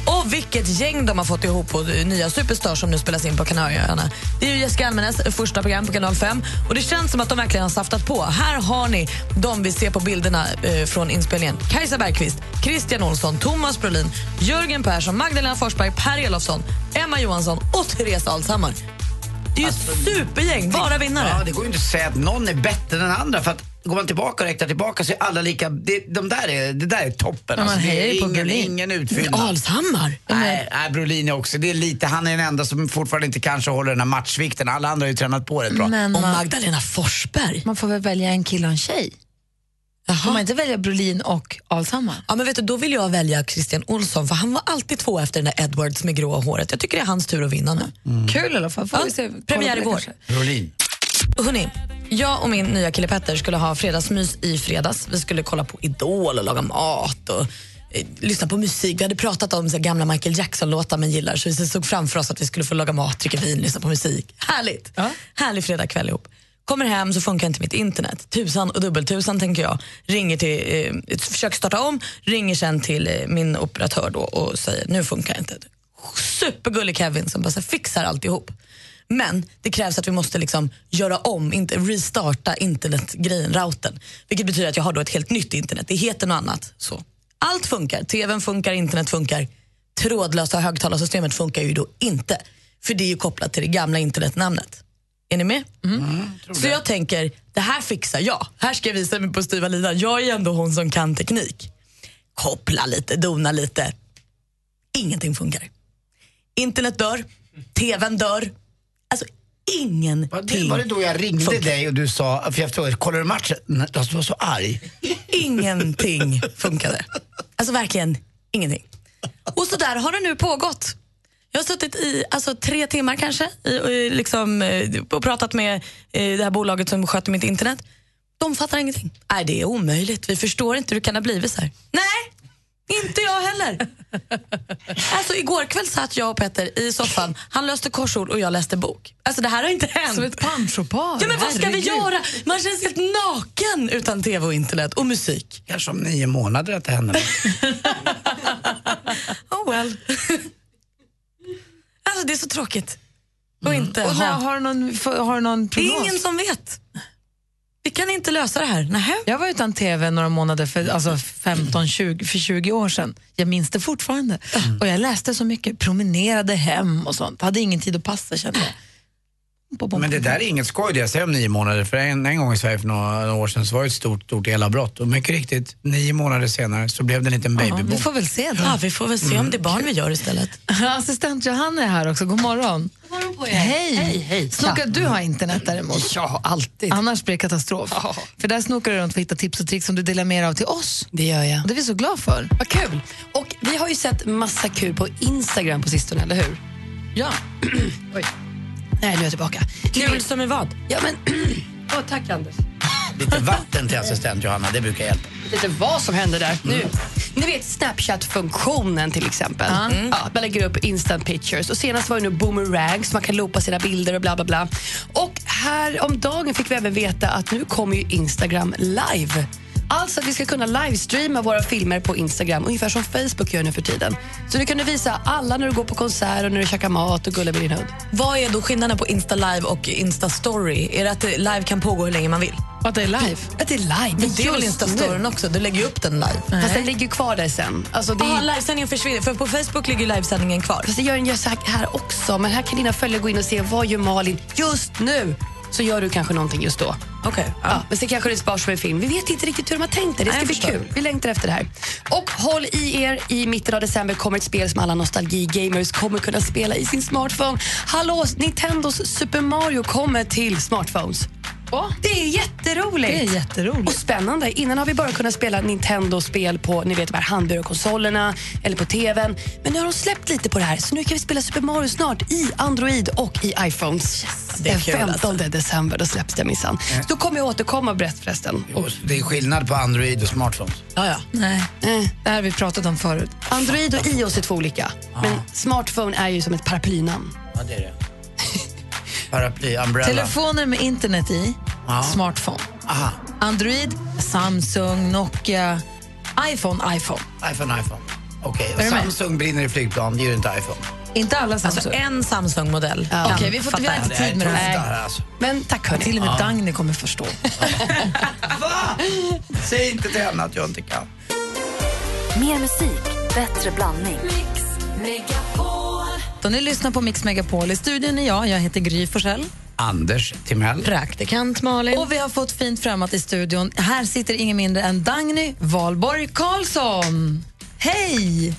S4: Och vilket gäng de har fått ihop på eh, nya Superstar som nu spelas in på Kanarieöarna. Det är ju Jessica Almenäs eh, första program på Kanal 5 och det känns som att de verkligen har saftat på. Här har ni de vi ser på bilderna eh, från inspelningen. Kajsa Bergqvist, Christian Olsson, Thomas Brolin, Jörgen Persson, Magdalena Forsberg, Per Elofsson, Emma Johansson och Therese Alshammar. Det är ju ett supergäng, bara vinnare.
S3: Ja, det går ju inte att säga att någon är bättre än den andra för att går man tillbaka och räknar tillbaka så är alla lika, det, de där är, det där är toppen.
S4: Ja, man
S3: alltså, det
S4: hejar
S3: är
S4: ju på
S3: ingen,
S4: Brolin.
S3: ingen utfyllnad.
S4: Men Alshammar?
S3: Nej, nej, Brolin är också, det är lite, han är den enda som fortfarande inte kanske håller den här matchvikten. Alla andra har ju tränat på rätt bra.
S2: Men
S4: Och
S2: man-
S4: Magdalena Forsberg.
S2: Man får väl välja en kille och en tjej? Får man inte välja Brolin och Alshammar?
S4: Ja, men vet du, då vill jag välja Christian Olsson för han var alltid två efter den där Edwards med gråa håret. Jag tycker det är hans tur att vinna nu.
S2: Mm. Kul i alla fall. Får vi se, kolla
S4: premiär
S2: på det
S4: igår.
S2: kanske.
S3: Brolin.
S4: Hörrni, jag och min nya kille Petter skulle ha fredagsmys i fredags. Vi skulle kolla på Idol och laga mat och eh, lyssna på musik. Vi hade pratat om så här, gamla Michael Jackson-låtar man gillar så vi såg framför oss att vi skulle få laga mat, dricka vin, lyssna på musik. Härligt! Härlig fredagkväll ihop. Kommer hem så funkar inte mitt internet. Tusan och dubbeltusan tänker jag. Ringer till, eh, försöker starta om, ringer sen till eh, min operatör då och säger nu funkar inte. Supergullig Kevin som bara så här, fixar alltihop. Men det krävs att vi måste liksom göra om, inte restarta internetgrejen, routern. Vilket betyder att jag har då ett helt nytt internet. Det heter något annat. Så. Allt funkar. TVn funkar, internet funkar. Trådlösa högtalarsystemet funkar ju då inte. För det är ju kopplat till det gamla internetnamnet. Är ni med? Mm.
S3: Mm.
S4: Så jag tänker, det här fixar jag. Här ska jag visa mig på styva linan. Jag är ändå hon som kan teknik. Koppla lite, dona lite. Ingenting funkar. Internet dör, tvn dör. Alltså
S3: Det
S4: ingenting.
S3: var det då jag ringde dig och du sa, för jag frågade, kollar du matchen? Nej, alltså, Du var så arg.
S4: Ingenting funkade. Alltså verkligen ingenting. Och så där har det nu pågått. Jag har suttit i alltså, tre timmar kanske i, i, liksom, eh, och pratat med eh, det här bolaget som sköter mitt internet. De fattar ingenting. Nej, det är omöjligt. Vi förstår inte hur det kan ha blivit så här. Nej, inte jag heller. Alltså igår kväll satt jag och Petter i soffan. Han löste korsord och jag läste bok. Alltså det här har inte hänt.
S2: Som ett panschopar.
S4: Ja, men vad ska vi
S2: Herregud.
S4: göra? Man känns helt naken utan tv och internet och musik.
S3: Kanske om nio månader att det händer något.
S4: Oh well. alltså det är så tråkigt. Och inte
S2: Mm. Och när,
S4: ha.
S2: har, du någon, får- har du någon
S4: Det
S2: prognos?
S4: är ingen som vet. Vi kan inte lösa det här. Nähä.
S2: Jag var utan tv några månader för, alltså 15, 20, för 20 år sedan. Jag minns det fortfarande.
S4: Mm.
S2: Och jag läste så mycket, promenerade hem och sånt. Hade ingen tid att passa kände jag. Bom, bom,
S3: Men det
S2: bom.
S3: där är inget skoj det jag säger om nio månader. För en, en gång i Sverige för några år sedan så var det ett stort, stort elavbrott. Och mycket riktigt, nio månader senare så blev det en liten Mm.
S2: Ja,
S3: babybomb.
S2: vi får väl se då.
S4: Ja, vi får väl se om det är barn vi gör istället.
S2: Assistent Johanna är här också. God morgon. God morgon på er. Hej. hej, Snokar du har internet däremot?
S12: Ja, alltid.
S2: Annars blir det katastrof. För där snokar du runt för att hitta tips och tricks som du delar med dig av till oss.
S12: Det gör jag.
S2: Det är vi så glada för.
S12: Vad kul! Och vi har ju sett massa kul på Instagram på sistone, eller hur?
S2: Ja.
S12: Oj. Nej, nu är jag tillbaka.
S4: Kul som är vad?
S12: Ja, men... Åh, tack, Anders.
S3: Lite vatten till assistent Johanna, det brukar hjälpa.
S12: Lite vad som händer där. Nu. Ni vet Snapchat-funktionen till exempel. Ja, man lägger upp instant pictures. Och Senast var det nu boomerang så man kan loopa sina bilder och bla bla bla. Och här om dagen fick vi även veta att nu kommer ju Instagram live. Alltså att vi ska kunna livestreama våra filmer på Instagram, ungefär som Facebook gör nu för tiden. Så nu kan du visa alla när du går på konsert och när du käkar mat och gullar med din hund.
S4: Vad är då skillnaden på Insta Live och Insta Story? Är det att det live kan pågå hur länge man vill?
S2: Att det är live?
S12: Att det är live.
S4: Men det är väl
S12: just
S4: Insta
S12: nu.
S4: Storyn också? Du lägger ju upp den live.
S12: Fast den ligger kvar där sen. Alltså det är...
S4: Ja, livesändningen försvinner. För på Facebook ligger ju livesändningen kvar.
S12: Fast det gör den ju så här- här också. Men här kan dina följare gå in och se vad gör Malin just nu. Så gör du kanske någonting just då.
S4: Okej.
S12: Ja. men sen kanske det sparas som en film. Vi vet inte riktigt hur de har tänkt det. Det ska
S4: Nej, jag
S12: bli
S4: förstår.
S12: kul. Vi längtar efter det här. Och håll i er. I mitten av december kommer ett spel som alla nostalgi-gamers kommer kunna spela i sin smartphone. Hallå, Nintendos Super Mario kommer till smartphones. Det är jätteroligt!
S2: Det är jätteroligt.
S12: Och spännande. Innan har vi bara kunnat spela Nintendo-spel på ni vet, de här handburarkonsolerna eller på tvn. Men nu har de släppt lite på det här, så nu kan vi spela Super Mario snart i Android och i iPhones.
S4: det är
S12: Den
S4: kul
S12: 15
S4: alltså.
S12: december, då släpps det minsann. Så Då kommer jag återkomma och berätta förresten.
S3: Och Det är skillnad på Android och smartphones.
S4: Ja, ja.
S2: Nej,
S12: Eh,
S2: det här har vi pratat om förut.
S12: Android och iOS är två olika, men smartphone är ju som ett paraplynamn.
S3: Ja, det är det. Paraply, umbrella.
S2: Telefoner med internet i,
S3: Ja.
S2: smartphone.
S3: Aha,
S2: Android, Samsung, Nokia, iPhone, iPhone.
S3: iPhone, iPhone. Okej,
S2: Är du
S3: och
S2: med?
S3: Samsung brinner i flygplan, det gör inte iPhone.
S2: Inte alla Samsung.
S4: Alltså en Samsung-modell.
S12: Ja.
S4: kan
S2: Okej, vi får
S4: fatta
S2: vi har
S4: det.
S2: inte
S3: Det här är
S2: tid med det
S3: tufft det
S2: här.
S3: här alltså.
S12: Men tack hörni.
S2: Till och med Dagny kommer förstå.
S3: Va? Säg inte till henne att jag inte kan.
S5: Mer musik, bättre blandning.
S2: Då ni lyssnar på Mix Megapol. I studion är jag, jag heter Gry Forssell.
S3: Anders Timell.
S4: Praktikant Malin.
S2: Och vi har fått fint främmat i studion. Här sitter ingen mindre än Dagny Valborg Karlsson. Hej!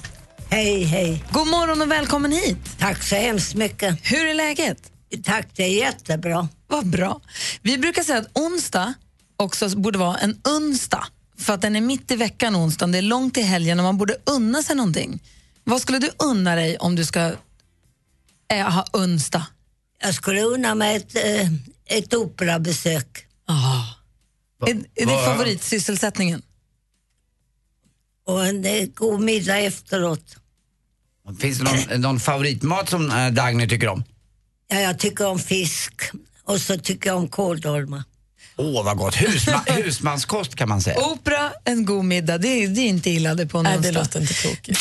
S13: Hej, hej.
S2: God morgon och välkommen hit.
S13: Tack så hemskt mycket.
S2: Hur är läget?
S13: Tack, det är jättebra.
S2: Vad bra. Vi brukar säga att onsdag också borde vara en onsdag. För att den är mitt i veckan onsdagen, det är långt till helgen och man borde unna sig någonting. Vad skulle du unna dig om du ska eh, ha onsdag?
S13: Jag skulle unna mig ett, eh, ett operabesök.
S2: Är, är det favoritsysselsättningen?
S13: Och en eh, god middag efteråt.
S3: Finns det någon, någon favoritmat som eh, Dagny tycker om?
S13: Ja, jag tycker om fisk och så tycker jag om kåldolmar.
S3: Åh, vad gott. Husma, husmanskost kan man säga.
S2: Opera, en god middag, det är, det är inte illa det på en
S4: Nej, Äh, det
S2: onsdag.
S4: låter inte tokigt.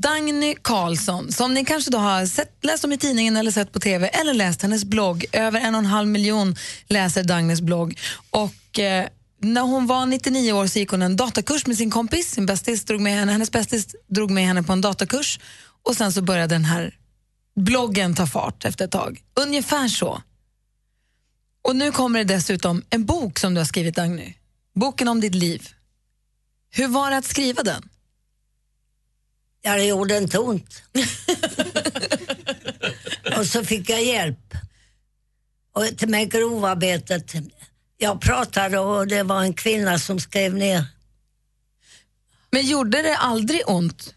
S2: Dagny Karlsson, som ni kanske då har sett, läst om i tidningen eller sett på TV eller läst hennes blogg. Över en och en halv miljon läser Dagnys blogg. Och eh, när hon var 99 år så gick hon en datakurs med sin kompis. Sin bästis drog med henne, hennes bästis drog med henne på en datakurs. Och sen så började den här bloggen ta fart efter ett tag. Ungefär så. Och nu kommer det dessutom en bok som du har skrivit Dagny. Boken om ditt liv. Hur var det att skriva den?
S13: Ja, det gjorde inte ont. och så fick jag hjälp. Och till mig grovarbetet. Jag pratade och det var en kvinna som skrev ner.
S2: Men gjorde det aldrig ont?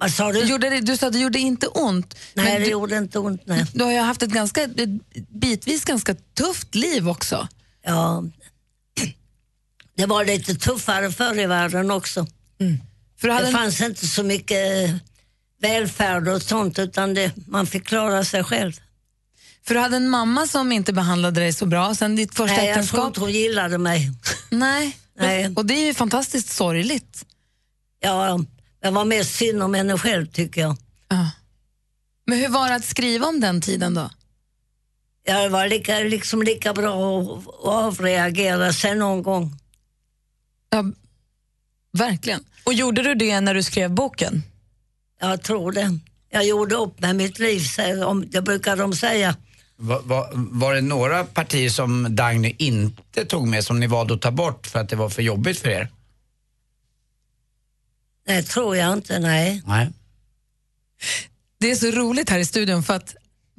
S13: Vad sa du?
S2: Gjorde det, du sa att det gjorde inte ont.
S13: Nej,
S2: men
S13: det
S2: du,
S13: gjorde inte ont. Nej.
S2: Du har ju haft ett, ganska, ett bitvis ganska tufft liv också.
S13: Ja. Det var lite tuffare förr i världen också.
S2: Mm. För
S13: det fanns inte så mycket eh, välfärd och sånt utan det, man fick klara sig själv.
S2: För du hade en mamma som inte behandlade dig så bra sen ditt första
S13: Nej, jag tror
S2: äktenskap.
S13: inte hon gillade mig.
S2: Nej. Och, och det är ju fantastiskt sorgligt.
S13: Ja, det var mest synd om henne själv tycker jag.
S2: Men hur var det att skriva om den tiden då?
S13: Ja, det var lika, liksom lika bra att, att avreagera sig någon gång.
S2: Verkligen.
S4: Och gjorde du det när du skrev boken?
S13: Jag tror det. Jag gjorde upp med mitt liv, säger de- det brukar de säga.
S3: Va, va, var det några partier som Dagny inte tog med som ni valde att ta bort för att det var för jobbigt för er?
S13: Nej, tror jag inte, nej.
S3: Nej.
S2: Det är så roligt här i studion för att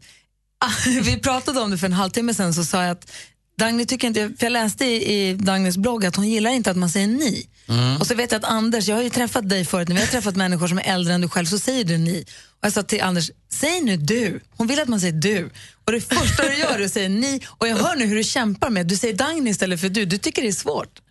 S2: Ah, vi pratade om det för en halvtimme sedan så sa jag att Dagny tycker inte, för jag läste i, i Dagnys blogg att hon gillar inte att man säger ni.
S14: Mm.
S2: Och så vet jag att Anders, jag har ju träffat dig förut, när vi har träffat människor som är äldre än du själv så säger du ni. Och jag sa till Anders, säg nu du. Hon vill att man säger du. Och det första du gör är att säga ni. Och jag hör nu hur du kämpar med, du säger Dagny istället för du. Du tycker det är svårt.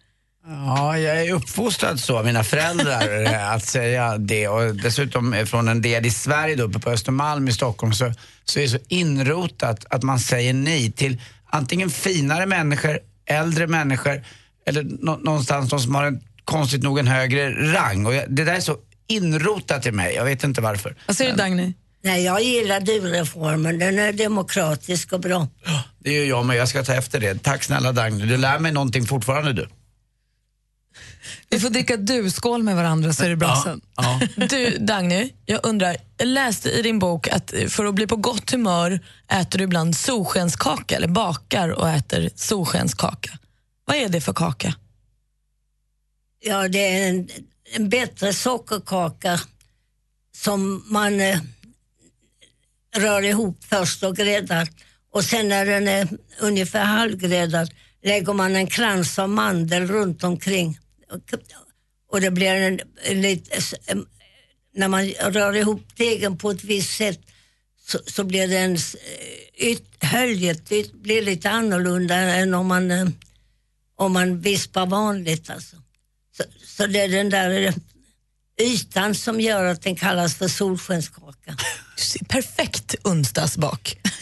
S3: Ja, jag är uppfostrad så av mina föräldrar eh, att säga det. Och dessutom eh, från en del i Sverige, då, uppe på Östermalm i Stockholm, så, så är det så inrotat att man säger nej till antingen finare människor, äldre människor eller nå- någonstans de som har en, konstigt nog en högre rang. Och jag, det där är så inrotat i mig, jag vet inte varför.
S2: Vad säger du Dagny?
S13: Nej, jag gillar du-reformen. Den är demokratisk och bra.
S3: Det gör jag men jag ska ta efter det. Tack snälla Dagny, du lär mig någonting fortfarande du.
S2: Vi får dricka du-skål med varandra så är det bra sen.
S4: Du, Dagny, jag undrar, jag läste i din bok att eh, för att bli på gott humör äter du ibland solskenskaka, eller bakar och äter solskenskaka. Vad är det för kaka?
S13: Ja, det är en, en bättre sockerkaka som man eh, rör ihop först och gräddar. Och sen när den är ungefär halvgräddad lägger man en krans av mandel runt omkring. Och, och det blir en, en lite, s- em, när man rör ihop degen på ett visst sätt så, så blir den s- eh, yt, höljet yt, blir lite annorlunda än om man, eh, om man vispar vanligt. Alltså. Så, så det är den där eh, ytan som gör att den kallas för solskenskaka.
S4: Perfekt onsdagsbak.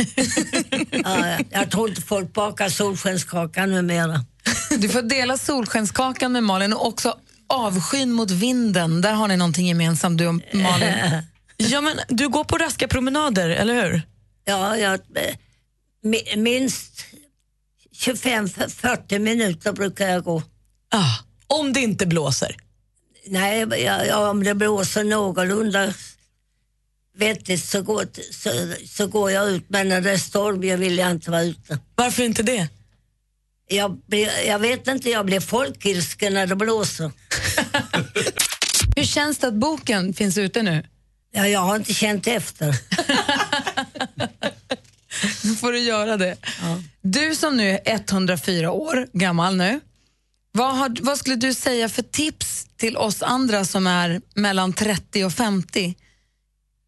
S13: ja, jag- jag tror inte folk bakar solskenskaka numera.
S2: Du får dela solskenskakan med Malin och också avskyn mot vinden. Där har ni någonting gemensamt du och Malin.
S4: Ja, men du går på raska promenader, eller hur?
S13: Ja, jag, eh, mi- minst 25-40 minuter brukar jag gå.
S4: Ah, om det inte blåser?
S13: Nej, jag, jag, om det blåser någorlunda vettigt så går, så, så går jag ut. Men när det är storm jag vill jag inte vara ute.
S4: Varför inte det?
S13: Jag, blir, jag vet inte, jag blir folkilsken när det blåser.
S2: Hur känns det att boken finns ute nu?
S13: Ja, jag har inte känt efter.
S2: Då får du göra det. Du som nu är 104 år gammal nu, vad, har, vad skulle du säga för tips till oss andra som är mellan 30 och 50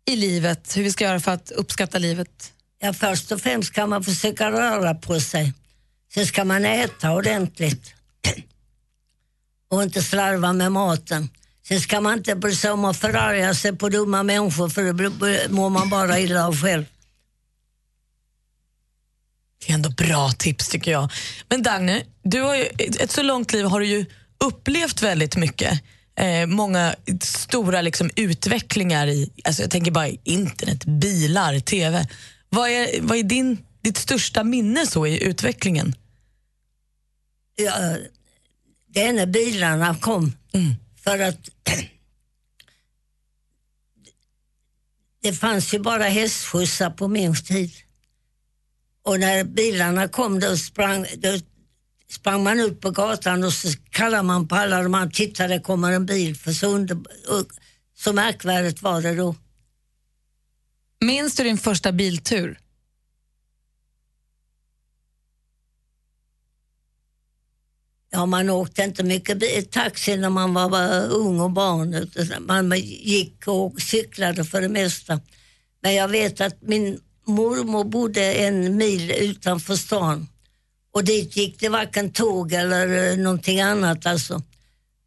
S2: i livet, hur vi ska göra för att uppskatta livet?
S13: Ja, först och främst kan man försöka röra på sig. Sen ska man äta ordentligt och inte slarva med maten. Sen ska man inte bry sig om att förarga sig på dumma människor för då blir- mår man bara illa av själv.
S4: Det är ändå bra tips tycker jag. Men Dagny, du har ju, ett så långt liv har du ju upplevt väldigt mycket. Eh, många stora liksom, utvecklingar i, alltså, jag tänker bara i internet, bilar, TV. Vad är, vad är din, ditt största minne så i utvecklingen?
S13: Ja, det är när bilarna kom.
S2: Mm.
S13: För att det fanns ju bara hästskjutsar på min tid. Och när bilarna kom då sprang, då sprang man ut på gatan och så kallade man på alla de här, titta det kommer en bil. För så, under, och, så märkvärdigt var det då.
S2: Minns du din första biltur?
S13: Ja, man åkte inte mycket bi- taxi när man var, var ung och barn. utan Man gick och cyklade för det mesta. Men jag vet att min mormor bodde en mil utanför stan. Och dit gick det varken tåg eller eh, någonting annat. Alltså.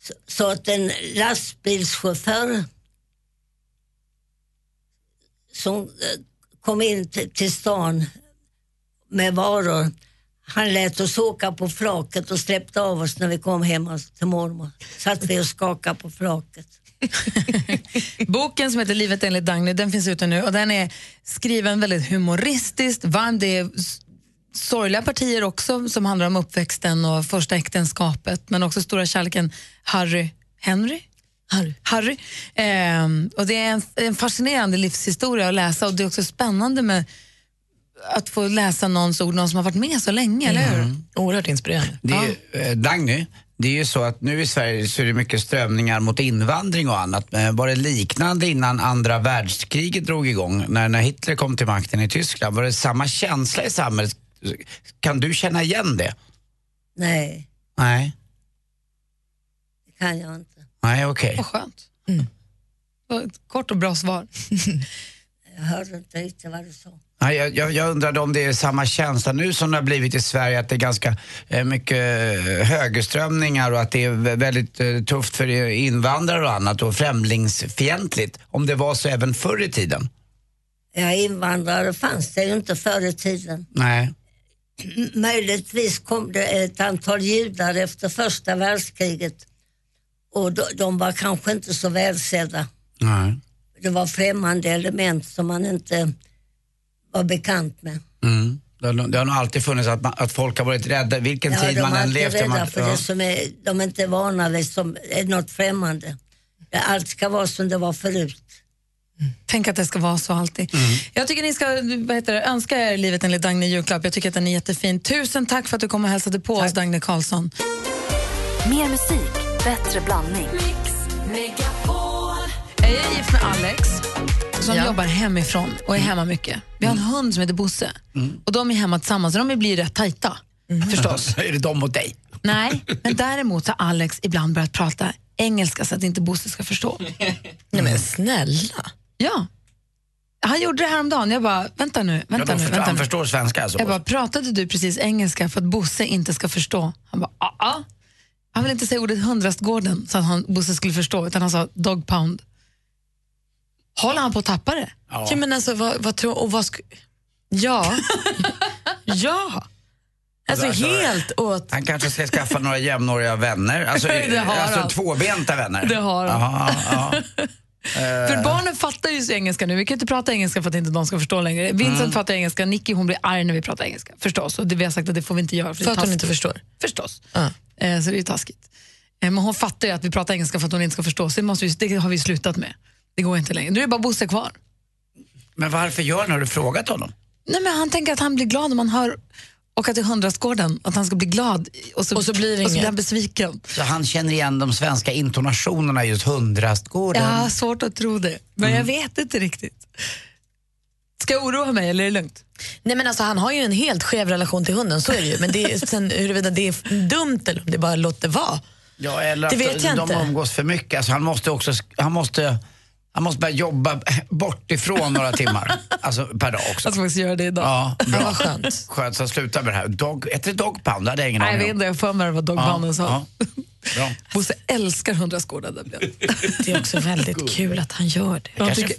S13: Så, så att en lastbilschaufför som eh, kom in till, till stan med varor, han lät oss åka på flaket och släppte av oss när vi kom hem till mormor. Satt vi och skakade på flaket.
S2: Boken som heter Livet enligt Dagny, den finns ute nu och den är skriven väldigt humoristiskt, varm. Det är s- sorgliga partier också som handlar om uppväxten och första äktenskapet men också stora kärleken Harry Henry. Harry. Harry. Ehm, och det är en, en fascinerande livshistoria att läsa och det är också spännande med att få läsa någons ord, någon som har varit med så länge, eller hur?
S4: Mm. Oerhört inspirerande.
S3: Det är, ju, eh, Dagny, det är ju så att nu i Sverige så är det mycket strömningar mot invandring och annat. Eh, Var det liknande innan andra världskriget drog igång? När, när Hitler kom till makten i Tyskland, var det samma känsla i samhället? Kan du känna igen det?
S13: Nej,
S3: Nej,
S13: det kan jag inte.
S3: nej okej.
S2: Vad skönt. Det var ett Kort och bra svar.
S13: Jag hörde inte riktigt vad du sa.
S3: Nej, jag, jag, jag undrade om det är samma känsla nu som det har blivit i Sverige att det är ganska eh, mycket eh, högerströmningar och att det är vä- väldigt eh, tufft för eh, invandrare och annat och främlingsfientligt. Om det var så även förr i tiden?
S13: Ja, invandrare fanns det ju inte förr i tiden.
S3: Nej.
S13: M- Möjligtvis kom det ett antal judar efter första världskriget och de, de var kanske inte så välsedda.
S3: Nej.
S13: Det var främmande element som man inte var bekant med.
S3: Mm. Det, har, nog- det har nog alltid funnits att, man, att folk har varit rädda vilken
S13: Ja,
S3: tid
S13: de
S3: man
S13: är
S3: än
S13: alltid
S3: levt. i.
S13: rädda
S3: Man,
S13: för det som är, de är inte vana vid, som är något främmande. Allt ska vara som det var förut.
S2: Tänk att det ska vara så alltid. Jag tycker ni ska vad heter det, önska er livet enligt Dagny i julklapp. Jag tycker att den är jättefin. Tusen tack för att du kom och hälsade på oss, Dagny Karlsson.
S5: Mer musik, bättre blandning.
S2: Jag är gift med Alex som
S5: Ja.
S2: jobbar hemifrån och är hemma mycket. Vi har en hund som heter Bosse
S3: Mm.
S2: och de är hemma tillsammans och de blir rätt tajta. Förstås.
S3: är det de mot dig.
S2: Nej, men däremot har Alex ibland börjat prata engelska så att inte Bosse ska förstå. Mm.
S4: Nej men snälla.
S2: Ja. Han gjorde det häromdagen. Jag bara, vänta nu,
S3: Ja,
S2: vänta
S3: de
S2: nu,
S3: förstår,
S2: vänta
S3: han
S2: nu.
S3: förstår svenska alltså?
S2: Jag bara, pratade du precis engelska för att Bosse inte ska förstå? Han bara, ah, ah. Han ville inte säga ordet hundrastgården så att han, Bosse skulle förstå, utan han sa dog pound. Håller han på att tappa det?
S4: Ja. men alltså, vad, vad tror, och vad sk- Ja. ja. Alltså, helt åt...
S3: Han kanske ska skaffa några jämnåriga vänner. Alltså,
S2: Det har
S3: alltså
S2: han.
S3: tvåbenta vänner.
S2: Det har han.
S3: Jaha, ja.
S2: För
S3: Eh,
S2: barnen fattar ju så engelska nu. Vi kan inte prata engelska för att inte de ska förstå längre. Vincent
S3: Mm.
S2: fattar engelska, Nicky hon blir arg när vi pratar engelska. Förstås. Och det, vi har sagt att det får vi inte göra.
S4: För att hon inte
S2: förstår? Förstås. Eh, så det är ju taskigt. Eh, men hon fattar ju att vi pratar engelska för att hon inte ska förstå. Så det, måste vi, det har vi slutat med. Det går inte längre. Nu är det bara Bosse kvar.
S3: Men varför gör han? Har du frågat honom?
S2: Nej, men han tänker att han blir glad om han hör åka till hundrastgården, att han ska bli glad och så, och så blir, och så blir han besviken.
S3: Så han känner igen de svenska intonationerna i just hundrastgården?
S2: Jag har svårt att tro det, men jag vet inte riktigt. Ska jag oroa mig eller är det lugnt?
S4: Nej, men alltså, han har ju en helt skev relation till hunden, så är det ju. Men det är, sen, huruvida det är dumt eller om det bara låter vara.
S3: Ja, eller
S4: Det
S3: att
S4: vet jag
S3: de
S4: inte.
S3: umgås för mycket. Alltså, han måste också, han måste, han måste börja jobba bortifrån några timmar. Alltså per dag också.
S2: Jag ska faktiskt göra det idag.
S3: Ja, bra.
S2: vad skönt.
S3: Skönt, så sluta med det här. Dog, heter det dog pound? Det hade jag ingen
S2: Nej, jag
S3: aning
S2: vet
S3: om.
S2: inte, alltså. jag har för mig vad dogbanden sa.
S3: Bra.
S2: Bosse älskar hundrastgården.
S4: Det är också väldigt kul att han gör det.
S2: Jag
S3: Kanske-
S2: tycker,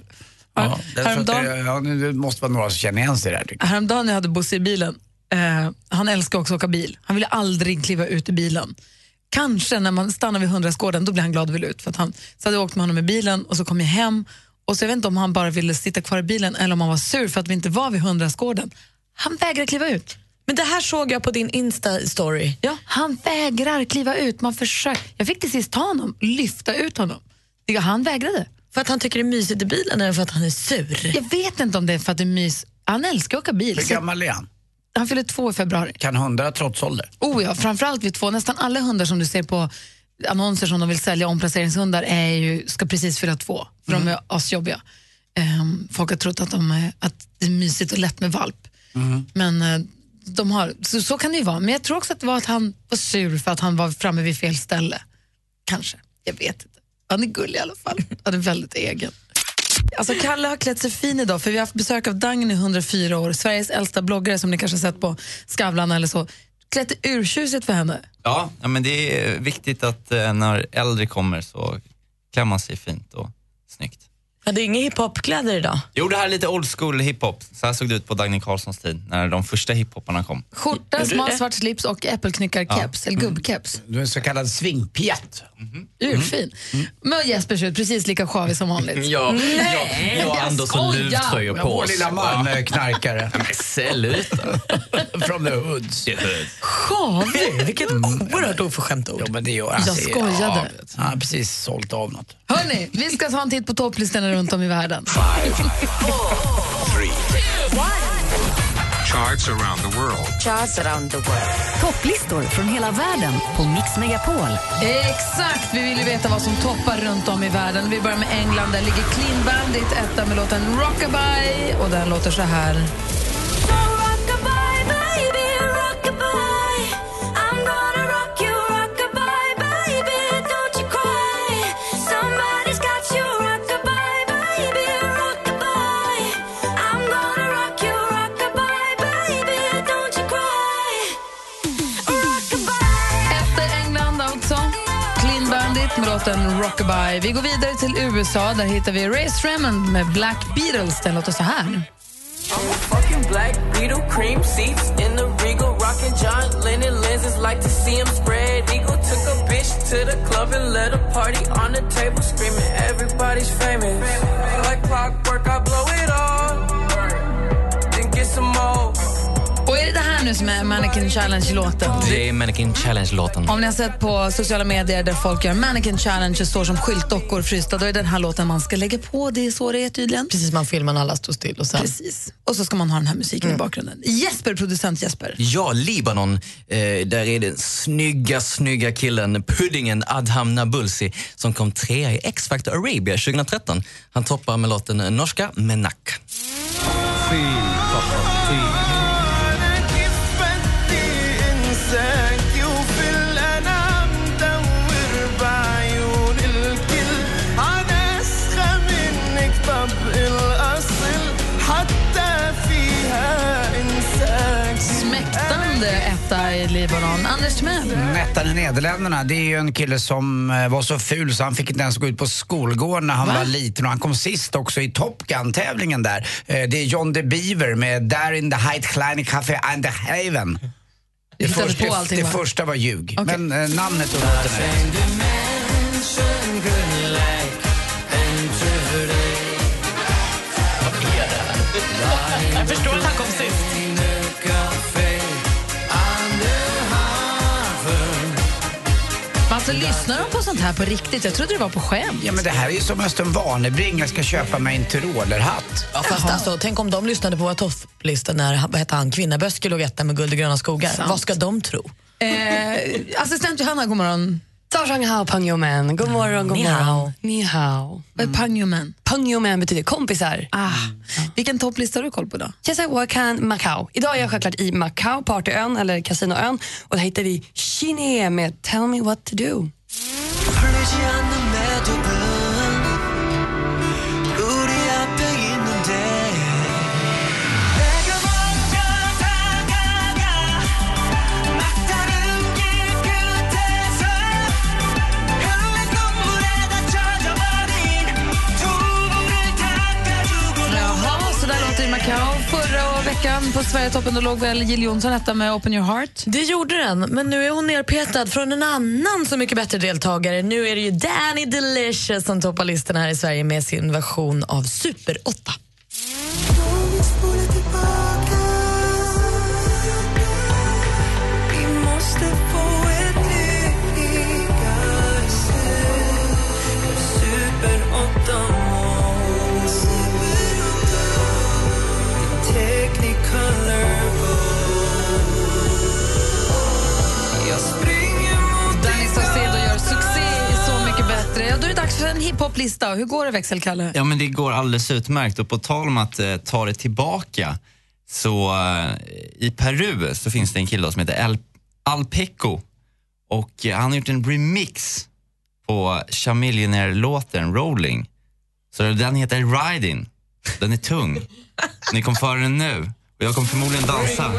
S3: Ja, det, tror jag att det,
S2: häromdagen-
S3: ja, nu- det måste vara några som känner igen sig där. tycker
S2: Häromdagen när jag hade Bosse i bilen, eh, han älskar också att åka bil. Han ville aldrig kliva ut ur bilen. Kanske när man stannar vid hundrastgården, då blir han glad och vill ut. För att han, så hade jag åkt med honom i bilen och så kom jag hem och så jag vet inte om han bara ville sitta kvar i bilen eller om han var sur för att vi inte var vid hundrastgården. Han vägrar kliva ut.
S4: Men det här såg jag på din Insta-story.
S2: Ja, han vägrar kliva ut. Man försöker. Jag fick till sist ta honom, lyfta ut honom. Det- Han vägrade.
S4: För att han tycker det är mysigt i bilen eller för att han är sur?
S2: Jag vet inte om det är för att det är mys. Han älskar att åka bil.
S3: jag. Hur
S2: så-
S3: gammal är han?
S2: Han fyller två i februari.
S3: Kan hundra trots ålder?
S2: Oh ja, framförallt vid två. Nästan alla hundar som du ser på annonser som de vill sälja, omplaceringshundar, är ju, ska precis fylla två. För
S3: Mm.
S2: de är asjobbiga. Ehm, folk har trott att, de är, att det är mysigt och lätt med valp.
S15: Mm.
S2: Men eh, de har, så, så kan det ju vara. Men jag tror också att det var att han var sur för att han var framme vid fel ställe. Kanske. Jag vet inte. Han är gullig i alla fall. Han är väldigt egen. Alltså Kalle har klätt sig fin idag för vi har haft besök av Dagny, 104 år, Sveriges äldsta bloggare som ni kanske har sett på Skavlan eller så. Klätt det urtjusigt för henne.
S14: Ja, ja, men det är viktigt att eh, när äldre kommer så klär man sig fint och snyggt.
S4: Ja, det är inga hiphopkläder idag.
S14: Jo, det här är lite old school hiphop. Så här såg det ut på Dagny Carlssons tid när de första hiphoparna kom.
S2: Skjorta, smal svart slips och äppelknyckarkeps, eller gubbkeps.
S3: Mm. Du är en så kallad Mm. svingpiatt.
S2: Urfin. Men Jesper ser ut precis lika sjavig som vanligt.
S14: Ja,
S2: Nej,
S14: ja,
S2: jag
S14: Anders och
S2: skojar.
S14: luvtröjor
S3: Men vår
S14: på oss.
S3: lilla man är knarkare.
S14: Sluta.
S3: From the hoods.
S2: Sjavig?
S4: Vilket oerhört oförskämt ord.
S3: Jo, men det gör
S2: Mm. Jag
S3: alltså,
S2: skojade.
S3: Ja, han har precis sålt av något.
S2: Hörni, vi ska ta en titt på topplistorna runt om i världen.
S10: Charts around the world.
S5: Charts around the world. Topplistor från hela världen på Mix Megapol.
S2: Exakt! Vi vill ju veta vad som toppar runt om i världen. Vi börjar med England. Där ligger Clean Bandit etta med låten Rockabye. Och den låter så här. Efter England alltså. Clean Bandit med låten Rockabye. Vi går vidare till USA. Där hittar vi Ray Shremmond med Black Beatles. Den låter så här.
S16: Fucking black beetle, cream seats in the regal, rocking John Lennon lenses, like to see him spread eagle. Took a bitch to the club and let a party on the table, screaming everybody's famous. Like clockwork, I blow it all, then get some more.
S2: Och är det det här nu som är Mannequin Challenge-låten?
S14: Det är Mannequin Challenge-låten.
S2: Om ni har sett på sociala medier där folk gör mannequin challenge och står som skyltdockor frysta, då är den här låten man ska lägga på. Det är så det är tydligen.
S4: Precis, man filmar när alla står still och sen... Mm.
S2: Precis. Och så ska man ha den här musiken i bakgrunden. Jesper, producent Jesper.
S14: Ja, Libanon. Eh, där är den snygga, snygga killen, puddingen Adham Nabulsi som kom trea i X-Factor Arabia 2013. Han toppar med låten norska Menak.
S2: Mäktande etta i Libanon. Anders Timell.
S3: Nettan i Nederländerna, det är ju en kille som eh, var så ful så han fick inte ens gå ut på skolgården när han var liten och han kom sist också i Top Gun-tävlingen där. Eh, Det är John de Beaver med Där in the Height Kleine Café and the Haven. Det,
S2: hittade
S3: första-
S2: på allting,
S3: det
S2: va?
S3: första var ljug, men eh, namnet och låten är
S4: Jag förstår att han kom sist.
S2: Man Alltså lyssnar de på sånt här på riktigt? Jag trodde det var på skämt.
S3: Ja, men det här är ju som Östen Warnerbring, jag ska köpa mig en tyrolerhatt.
S4: Ja, fast alltså, tänk om de lyssnade på våra topplista när vad heter han, Kvinnaböske låg etta med guld och gröna skogar.
S12: Sant.
S4: Vad ska de tro?
S2: Eh, assistent Johanna, god morgon.
S12: Zhang hao pang yo men. God morgon, god
S2: Ni hao.
S12: morgon. Ni hao.
S2: Vad är pang yo men?
S12: Pang yo men betyder kompisar.
S2: Ah. Vilken topplista har du koll på då?
S12: Yes, I work in Macau. Idag är jag självklart i Macau, partyön eller kasinoön. Och där hittar vi Chiné med Tell me what to do.
S16: 흐르지 않는 매듭은 우리 앞에 있는데 내가 먼저 다가가 막다른 길 끝에서 흘린 눈물에다 젖어버린 두부를 닦아주고
S2: Jaha, så där låter det i Macau. Förra veckan på Sverigetoppen då låg väl Jill Johnson etta med Open Your Heart.
S4: Det gjorde den, men nu är hon nerpetad från en annan så mycket bättre deltagare. Nu är det ju Danny Delicious som toppar listan här i Sverige med sin version av Super 8.
S16: Vi måste få ett nytt Super 8-mål Technicolor Jag springer mot
S2: Danny Saucedo gör succé i Så mycket bättre. Ja, då är det dags för en hiphop-lista. Hur går det, växelkalle?
S17: Ja, men det går alldeles utmärkt. Och på tal om att eh, ta det tillbaka, så eh, i Peru så finns det en kille då som heter El, Alpeco. Och eh, han har gjort en remix på Chamillionaire-låten Rolling. Så den heter Riding. Den är tung. Ni kommer föra den nu. Och jag kommer förmodligen dansa.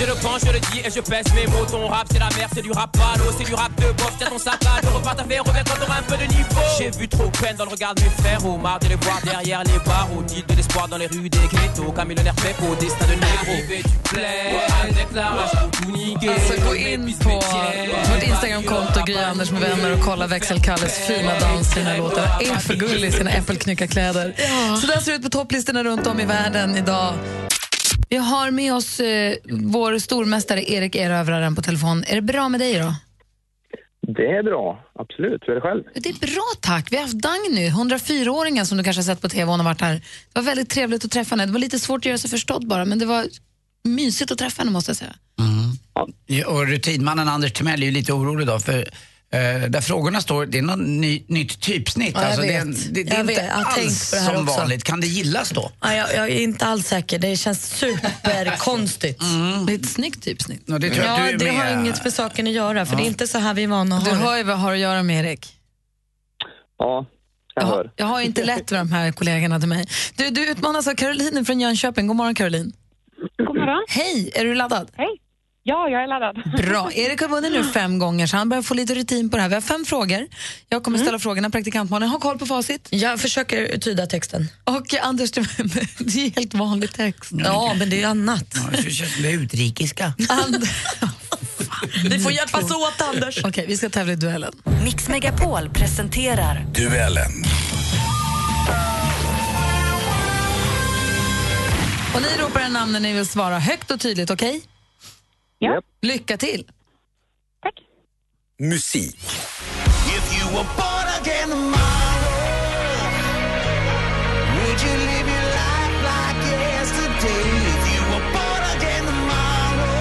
S18: Je le pense, je le dis et je pèse mes mots. Ton rap, c'est la merde, c'est du rap à l'eau, c'est du rap de bof. Tiens ton sac à dos, repars ta fait, reviens quand t'auras un peu de niveau. J'ai vu trop peine dans le regard de mes frères, au marre de les voir derrière les barres. Au deal de l'espoir dans les rues des ghettos, comme millionnaire fait au destin de négro. Arrivé du plaid, avec la rage pour tout niquer.
S2: Alltså gå in på vårt Instagramkonto, Gry Anders med vänner och kolla växelkalles fina dans till den här låten. Han är för gullig i sina äppelknyckarkläder. Så där ser det ut på topplistorna runt om i världen idag. Vi har med oss eh, vår stormästare Erik Erövraren på telefon. Är det bra med dig då?
S19: Det är bra, absolut. Hur är det själv?
S2: Det är bra tack. Vi har haft Dagny, 104-åringen som du kanske har sett på tv. Hon har varit här. Det var väldigt trevligt att träffa henne. Det var lite svårt att göra sig förstådd bara, men det var mysigt att träffa henne måste jag säga.
S3: Ja, Och rutinmannen Anders Timell är ju lite orolig idag för eh, där frågorna står, det är något ny, nytt typsnitt.
S4: Ja, jag
S3: alltså, det är,
S4: vet.
S3: det, det är
S4: Jag
S3: inte
S4: vet. Jag har tänkt
S3: alls
S4: på det här
S3: som
S4: också.
S3: vanligt. Kan det gillas då?
S4: Ja, jag, jag är inte alls säker, det känns superkonstigt.
S2: Det är ett snyggt typsnitt.
S3: Ja, det tror jag
S4: ja,
S3: att du är
S4: det
S3: med.
S4: har inget för saken att göra, för
S3: Ja.
S4: det är inte så här vi är vana att
S2: Du
S4: ha
S2: hör ju vad jag har att göra med Erik.
S19: Ja, jag hör.
S2: Jag har ju inte lätt med de här kollegorna till mig. Du, du utmanas av Caroline från Jönköping. God morgon Caroline.
S20: God morgon.
S2: Hej, är du laddad?
S20: Hej. Ja, jag är laddad.
S2: Bra. Erik har vunnit nu fem gånger så han börjar få lite rutin på det här. Vi har fem frågor. Jag
S20: Mm.
S2: kommer ställa frågorna. Praktikant Malin har koll på facit.
S4: Jag försöker tyda texten.
S2: Och Anders, det är helt vanlig text.
S4: Ja, men det är annat.
S3: Det är utrikiska.
S4: Vi får hjälpas åt, Anders.
S2: Okej, vi ska tävla i duellen.
S5: Mix Megapol presenterar
S10: Duellen.
S2: Och ni ropar en namn när ni vill svara högt och tydligt, okej? Ja. Lycka till.
S10: Musik.
S16: If you were born again tomorrow, would you live your life like yesterday? If you were born again tomorrow,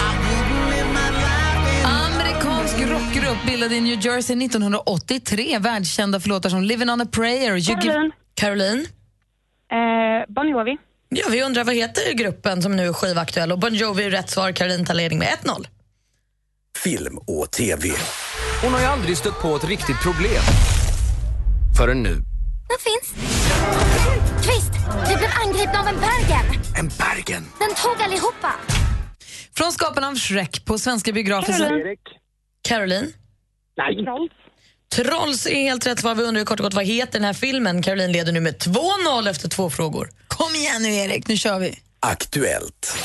S16: I wouldn't live my life in
S2: Amerikansk rockgrupp bildad i New Jersey 1983, världskända för låtar som Living on a prayer... You Give-
S4: Caroline. Caroline.
S20: Eh, bon Jovi.
S4: Ja, vi undrar vad heter gruppen som nu är skivaktuell och Bon Jovi är rätt svar. Caroline tar ledning med 1-0.
S21: Film och TV.
S22: Hon har ju aldrig stött på ett riktigt problem. Förrän nu.
S23: Vad finns? Kvist! Vi blev angripna av en Bergen!
S22: En Bergen.
S23: Den tog allihopa!
S2: Från skaparna av Shrek på svenska biografer...
S4: Caroline. Caroline.
S20: Nej. Trolls.
S4: Trolls är helt rätt svar. Vi undrar ju kort och gott vad heter den här filmen? Caroline leder nu med 2-0 efter två frågor.
S2: Kom igen nu Erik, nu kör vi.
S21: Aktuellt.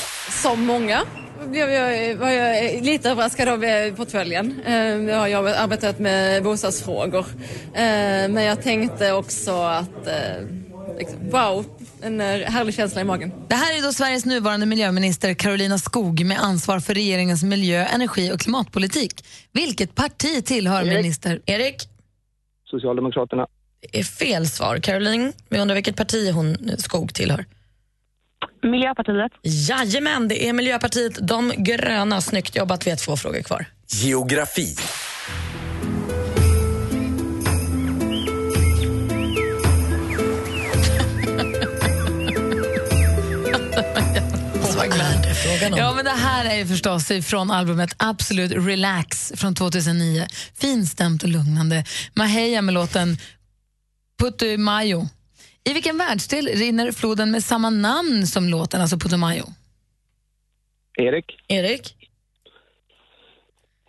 S15: Som många blev jag, var jag lite överraskad av eh, portföljen. Eh, Jag har jobbat- arbetat med bostadsfrågor. Eh, Men jag tänkte också att eh, liksom, wow, en eh, härlig känsla i magen.
S2: Det här är då Sveriges nuvarande miljöminister Karolina Skog med ansvar för regeringens miljö-, energi och klimatpolitik. Vilket parti tillhör minister?
S4: Erik?
S19: Socialdemokraterna.
S4: Det är fel svar. Caroline, vi undrar vilket parti hon eh, Skog tillhör?
S20: Miljöpartiet.
S4: Jajamän, det är Miljöpartiet de gröna. Snyggt jobbat, vi har två frågor kvar.
S21: Geografi.
S2: Ja, men det här är ju förstås från albumet Absolute Relax från 2009. Finstämt och lugnande. Maheya med låten Putumayo. I vilken världsdel rinner floden med samma namn som låten, alltså Putumayo?
S19: Erik.
S4: Erik?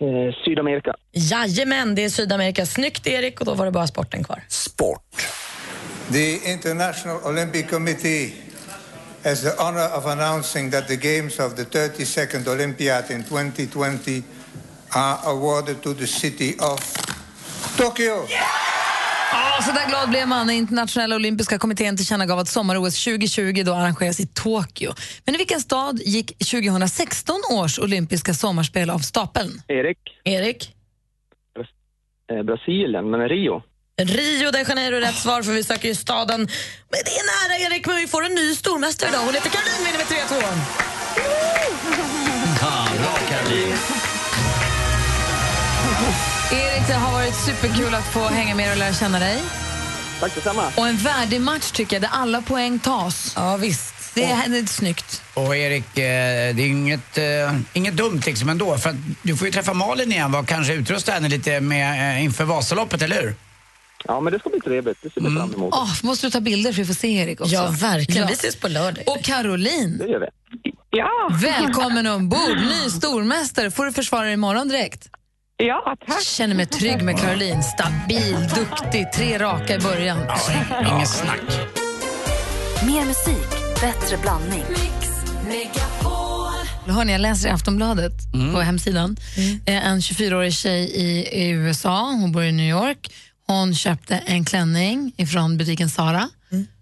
S19: Eh, Sydamerika.
S4: Jajamän, det är Sydamerika. Snyggt Erik och då var det bara sporten kvar.
S1: The International Olympic Committee has the honor of announcing that the games of the 32nd Olympiad in 2020 are awarded to the city of Tokyo.
S2: Ja, så där glad blev man när Internationella olympiska kommittén tillkännagav att sommar-OS 2020 då arrangeras i Tokyo. Men i vilken stad gick 2016 års olympiska sommarspel av stapeln?
S19: Erik.
S4: Erik?
S19: Eh, Brasilien, men Rio.
S4: Rio de Janeiro är rätt svar för vi söker ju staden. Men det är nära Erik, men vi får en ny stormästare idag. Hon heter Caroline vinner med 3-2.
S14: Ja, bra, Caroline.
S2: Erik, det har varit superkul att få hänga med och lära känna dig.
S19: Tack detsamma.
S2: Och en värdig match tycker jag, där alla poäng tas.
S4: Ja, visst.
S2: Det är, det är snyggt.
S3: Och Erik, eh, det är inget, eh, inget dumt liksom ändå. För att du får ju träffa Malin igen va? och kanske utrusta henne lite med, eh, inför Vasaloppet, eller hur? Mm.
S19: Ja, men det ska bli trevligt. Det ser vi fram emot.
S2: Åh, måste du ta bilder för att få se Erik också?
S4: Ja, verkligen. Vi ses på lördag.
S2: Och Caroline.
S19: Det gör vi.
S20: Ja.
S2: Välkommen ombord, ny stormästare. Får du försvara dig imorgon direkt?
S20: Ja, tack.
S2: Känner mig trygg med Caroline. Stabil, duktig, tre raka i början.
S3: Inget snack.
S5: Mer musik, bättre blandning.
S2: Hörni, jag läser i Aftonbladet på hemsidan. Eh, En 24-årig tjej i, i USA, hon bor i New York. Hon köpte en klänning ifrån butiken Zara.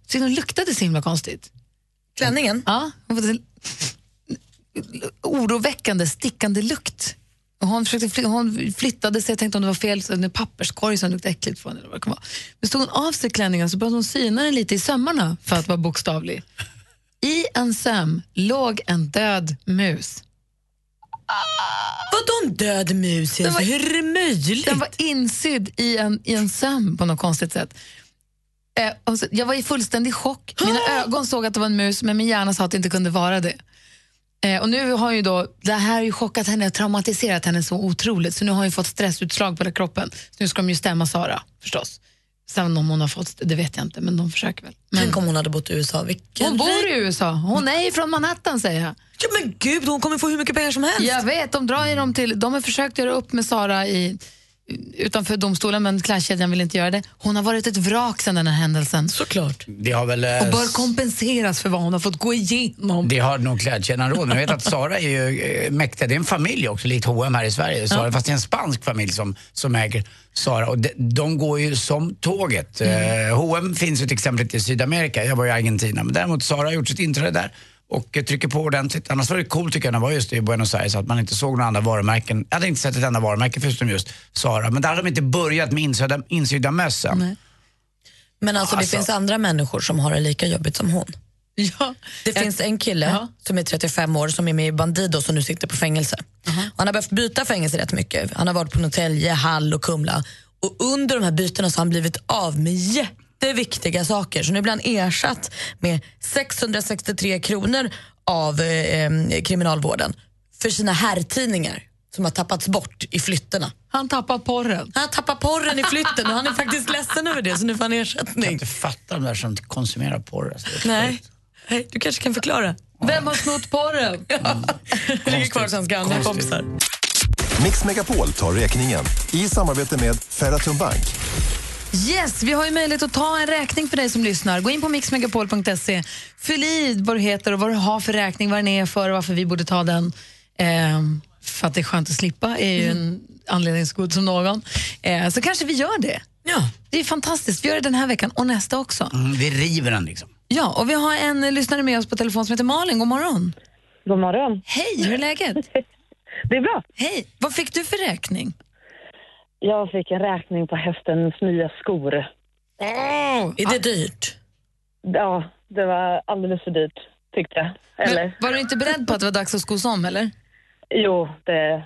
S2: Så den luktade så himla konstigt.
S4: Klänningen?
S2: Ja. Hon fick oroväckande, stickande lukt. Och hon, försökte fly- hon flyttade sig, jag tänkte om det var fel, så en papperskorg som luktade äckligt från eller vad det kan vara. Men stod hon av sig klänningen så började hon syna den lite i sömmarna för att vara bokstavlig. I en söm låg en död mus.
S4: Vadå en död mus? Alltså, hur är det möjligt?
S2: Den var insydd i en, i en söm på något konstigt sätt. Eh, och så, jag var i fullständig chock. Mina ögon såg att det var en mus, men min hjärna sa att det inte kunde vara det. Eh, och nu har ju då, det här har ju chockat henne och traumatiserat henne så otroligt, så nu har hon ju fått stressutslag på hela kroppen. Så nu ska de ju stämma Sara, förstås. Sen om hon har fått det, det vet jag inte, men de försöker väl.
S4: Tänk om hon hade bott i USA. Vilken
S2: Hon bor
S4: rik-
S2: i USA, hon är ju från Manhattan säger jag.
S4: Ja, men gud, hon kommer få hur mycket pengar som helst.
S2: Jag vet, de drar ju dem till... De har försökt göra upp med Sara i, utanför domstolen men klädkedjan vill inte göra det. Hon har varit ett vrak sedan den här händelsen.
S4: Såklart.
S3: Det har väl... eh,
S2: Och bör kompenseras för vad hon har fått gå igenom.
S3: Det har nog klädkedjan råd med. Jag vet att Sara är ju eh, mäktig. Det är en familj också, likt H&M här i Sverige. Sara, Fast det är en spansk familj som, som äger Sara. Och de, de går ju som tåget. Eh, H&M finns ju till exempel inte i Sydamerika. Jag var i Argentina. Men däremot Sara har gjort sitt inträde där och eh, trycker på ordentligt. Annars var det coolt tycker jag när jag var just i Buenos Aires att man inte såg några andra varumärken. Jag hade inte sett ett enda varumärke förutom just Sara. Men där hade de inte börjat med insydda, insydda mössen.
S4: Men alltså, det
S3: Alltså.
S4: finns andra människor som har det lika jobbigt som hon.
S2: Ja.
S4: Det finns en kille som är 35 år som är med i Bandido som nu sitter på fängelse. Och Han har behövt byta fängelse rätt mycket. Han har varit på Norrtälje, Hall och Kumla. Och under de här bytena så har han blivit av med jätteviktiga saker. Så nu blir han ersatt med 663 kronor av eh, eh, kriminalvården för sina herrtidningar som har tappats bort i flytterna.
S2: Han tappar porren.
S4: Han tappar porren i flytten och han är faktiskt ledsen över det så nu får han
S3: Jag kan
S4: ersättning.
S3: inte fatta de där som konsumerar porr. Alltså.
S4: Nej. Nej, du kanske kan förklara.
S2: Vem har snott porren?
S4: Det ligger kvar hos hans gamla kompisar.
S10: Mix Megapol tar räkningen i samarbete med Ferratum Bank.
S2: Yes, vi har ju möjlighet att ta en räkning för dig som lyssnar. Gå in på mixmegapol.se, fyll i vad du heter och vad du har för räkning, vad den är för och varför vi borde ta den. Ehm, för att det är skönt att slippa är ju en anledning så god som någon. Ehm, så kanske vi gör det.
S4: Ja.
S2: Det är fantastiskt. Vi gör det den här veckan och nästa också.
S3: Mm, vi river den liksom.
S2: Ja, och vi har en eh, lyssnare med oss på telefon som heter Malin. God morgon.
S7: God morgon.
S2: Hej, hur är läget?
S7: Det är bra.
S2: Hej, vad fick du för räkning?
S7: Jag fick en räkning på hästens nya skor.
S4: Är det dyrt?
S7: Ja, det var alldeles för dyrt tyckte jag. Eller?
S2: Var du inte beredd på att det var dags att skos om eller?
S7: Jo, det,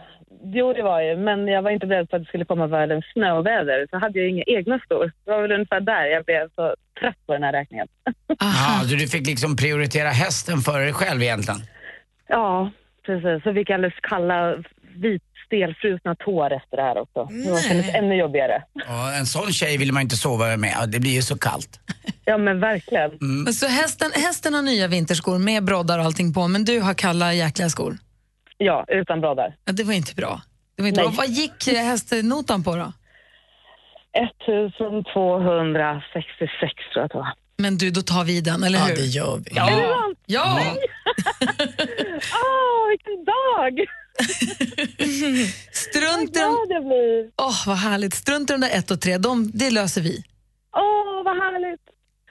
S7: jo, det var ju. Men jag var inte beredd på att det skulle komma världens snöväder. Så hade jag inga egna skor. Det var väl ungefär där jag blev så trött på den här räkningen.
S3: Ja, du, du fick liksom prioritera hästen före dig själv egentligen.
S7: Ja, precis. Så fick jag alldeles kalla, vit, stelfrusna tår efter det här också. Det var kändes ännu jobbigare.
S3: Ja, en sån tjej vill man inte sova med. Ja, Det blir ju så kallt.
S7: Ja, men verkligen.
S2: Så hästen, hästen har nya vinterskor med broddar och allting på, men du har kalla jäkla skor.
S7: Ja, utan broddar.
S2: Ja, det var inte bra. Det var inte
S7: Nej.
S2: bra. Vad gick eh, hästnotan på då?
S7: 1266 tror jag att det var.
S2: Men du, då tar vi den, eller hur? Ja, det
S4: gör vi.
S7: Är det
S2: Ja.
S7: sant? Åh, vilken dag!
S2: Strunt i de...
S7: det blir.
S2: Åh, vad härligt. Strunt i de där ett och tre, de, det löser vi.
S7: Åh, vad härligt!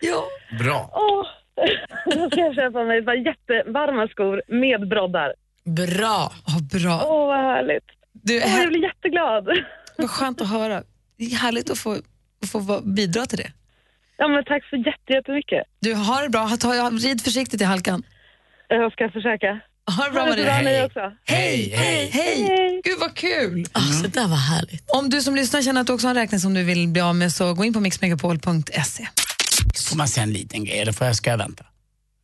S2: Ja.
S3: Bra.
S7: Åh, då ska jag köpa mig ett par jättevarma skor med broddar.
S4: Bra!
S2: Åh, bra.
S7: Åh, vad härligt.
S2: Du,
S7: Åh, jag blir jätteglad.
S2: Eh. Vad skönt att höra. Det är härligt att få, att få vara- bidra till det.
S7: Ja, men tack så jätte- jättemycket.
S2: Du, har det bra. Ha- Ta, ja, rid försiktigt i halkan.
S7: Eh, Jag ska försöka.
S2: Ha det bra,
S7: Ha det så
S2: Maria.
S7: bra ni också.
S2: Hej, hej, hej. Gud, vad kul.
S4: Mm. Det där var härligt.
S2: Om du som lyssnar känner att du också har en räkning som du vill bli av med så gå in på mixmegapol.se.
S3: Får man säga en liten grej eller får jag, ska jag vänta?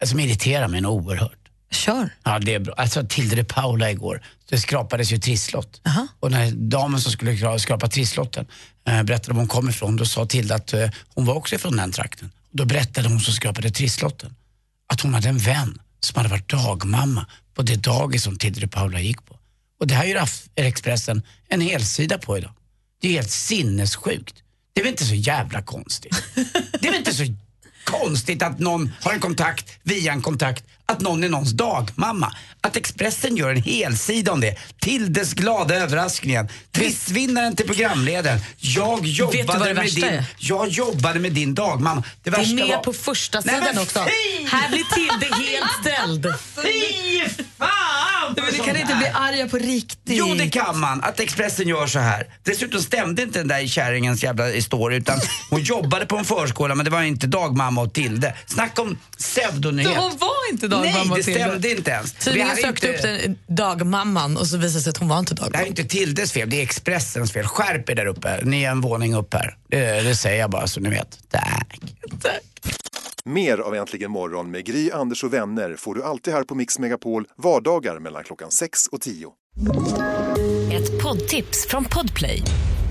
S3: Det Som irriterar mig något oerhört.
S2: Kör.
S3: Ja, det är bra. Alltså Tilde de Paula igår, det skrapades ju trisslott. Och när damen som skulle skra- skrapa trisslotten eh, berättade var hon kom ifrån, då sa Tilde att eh, hon var också ifrån den trakten. Då berättade hon som skrapade trisslotten att hon hade en vän som hade varit dagmamma på det dagis som Tilde de Paula gick på. Och det här gör Aff- Expressen en hel sida på idag. Det är helt sinnessjukt. Det är väl inte så jävla konstigt? Det är väl inte så konstigt att någon har en kontakt via en kontakt, att någon är någons dagmamma. Att Expressen gör en helsida om det. Till dess glada överraskningen. Trissvinnaren till programledaren. Jag
S4: du vad
S3: jobbade,
S4: det
S3: med
S4: värsta
S3: din,
S4: är?
S3: jag jobbade med din dagmamma. Det,
S4: Det
S3: värsta
S4: är med
S3: var...
S4: på första
S3: Nej,
S4: sidan
S3: men
S4: också.
S3: fy!
S4: Här blir Tilde helt ställd.
S3: Fy fan!
S2: Men du kan inte bli arga på riktigt.
S3: Jo, det kan man. Att Expressen gör så här. Dessutom stämde inte den där kärringens jävla story utan hon jobbade på en förskola men det var inte dagmamma och Tilde. Snacka om pseudonyhet.
S4: Så hon var inte
S3: Nej,
S4: dagmamma
S3: det
S4: och Tilde?
S3: stämde inte ens.
S4: Tidningen
S3: Det här är
S4: sökte
S3: inte-
S4: upp den dagmamman och så visade det sig att hon var inte
S3: Det här är
S4: dagmamma.
S3: inte Tildes fel, det är Expressens fel. Skärp er där uppe. Ni är en våning upp här. Det, det säger jag bara så ni vet. Tack.
S10: Mer av Äntligen morgon med Gry, Anders och vänner får du alltid här på Mix Megapol vardagar mellan klockan 6 och 10.
S5: Ett poddtips från Podplay.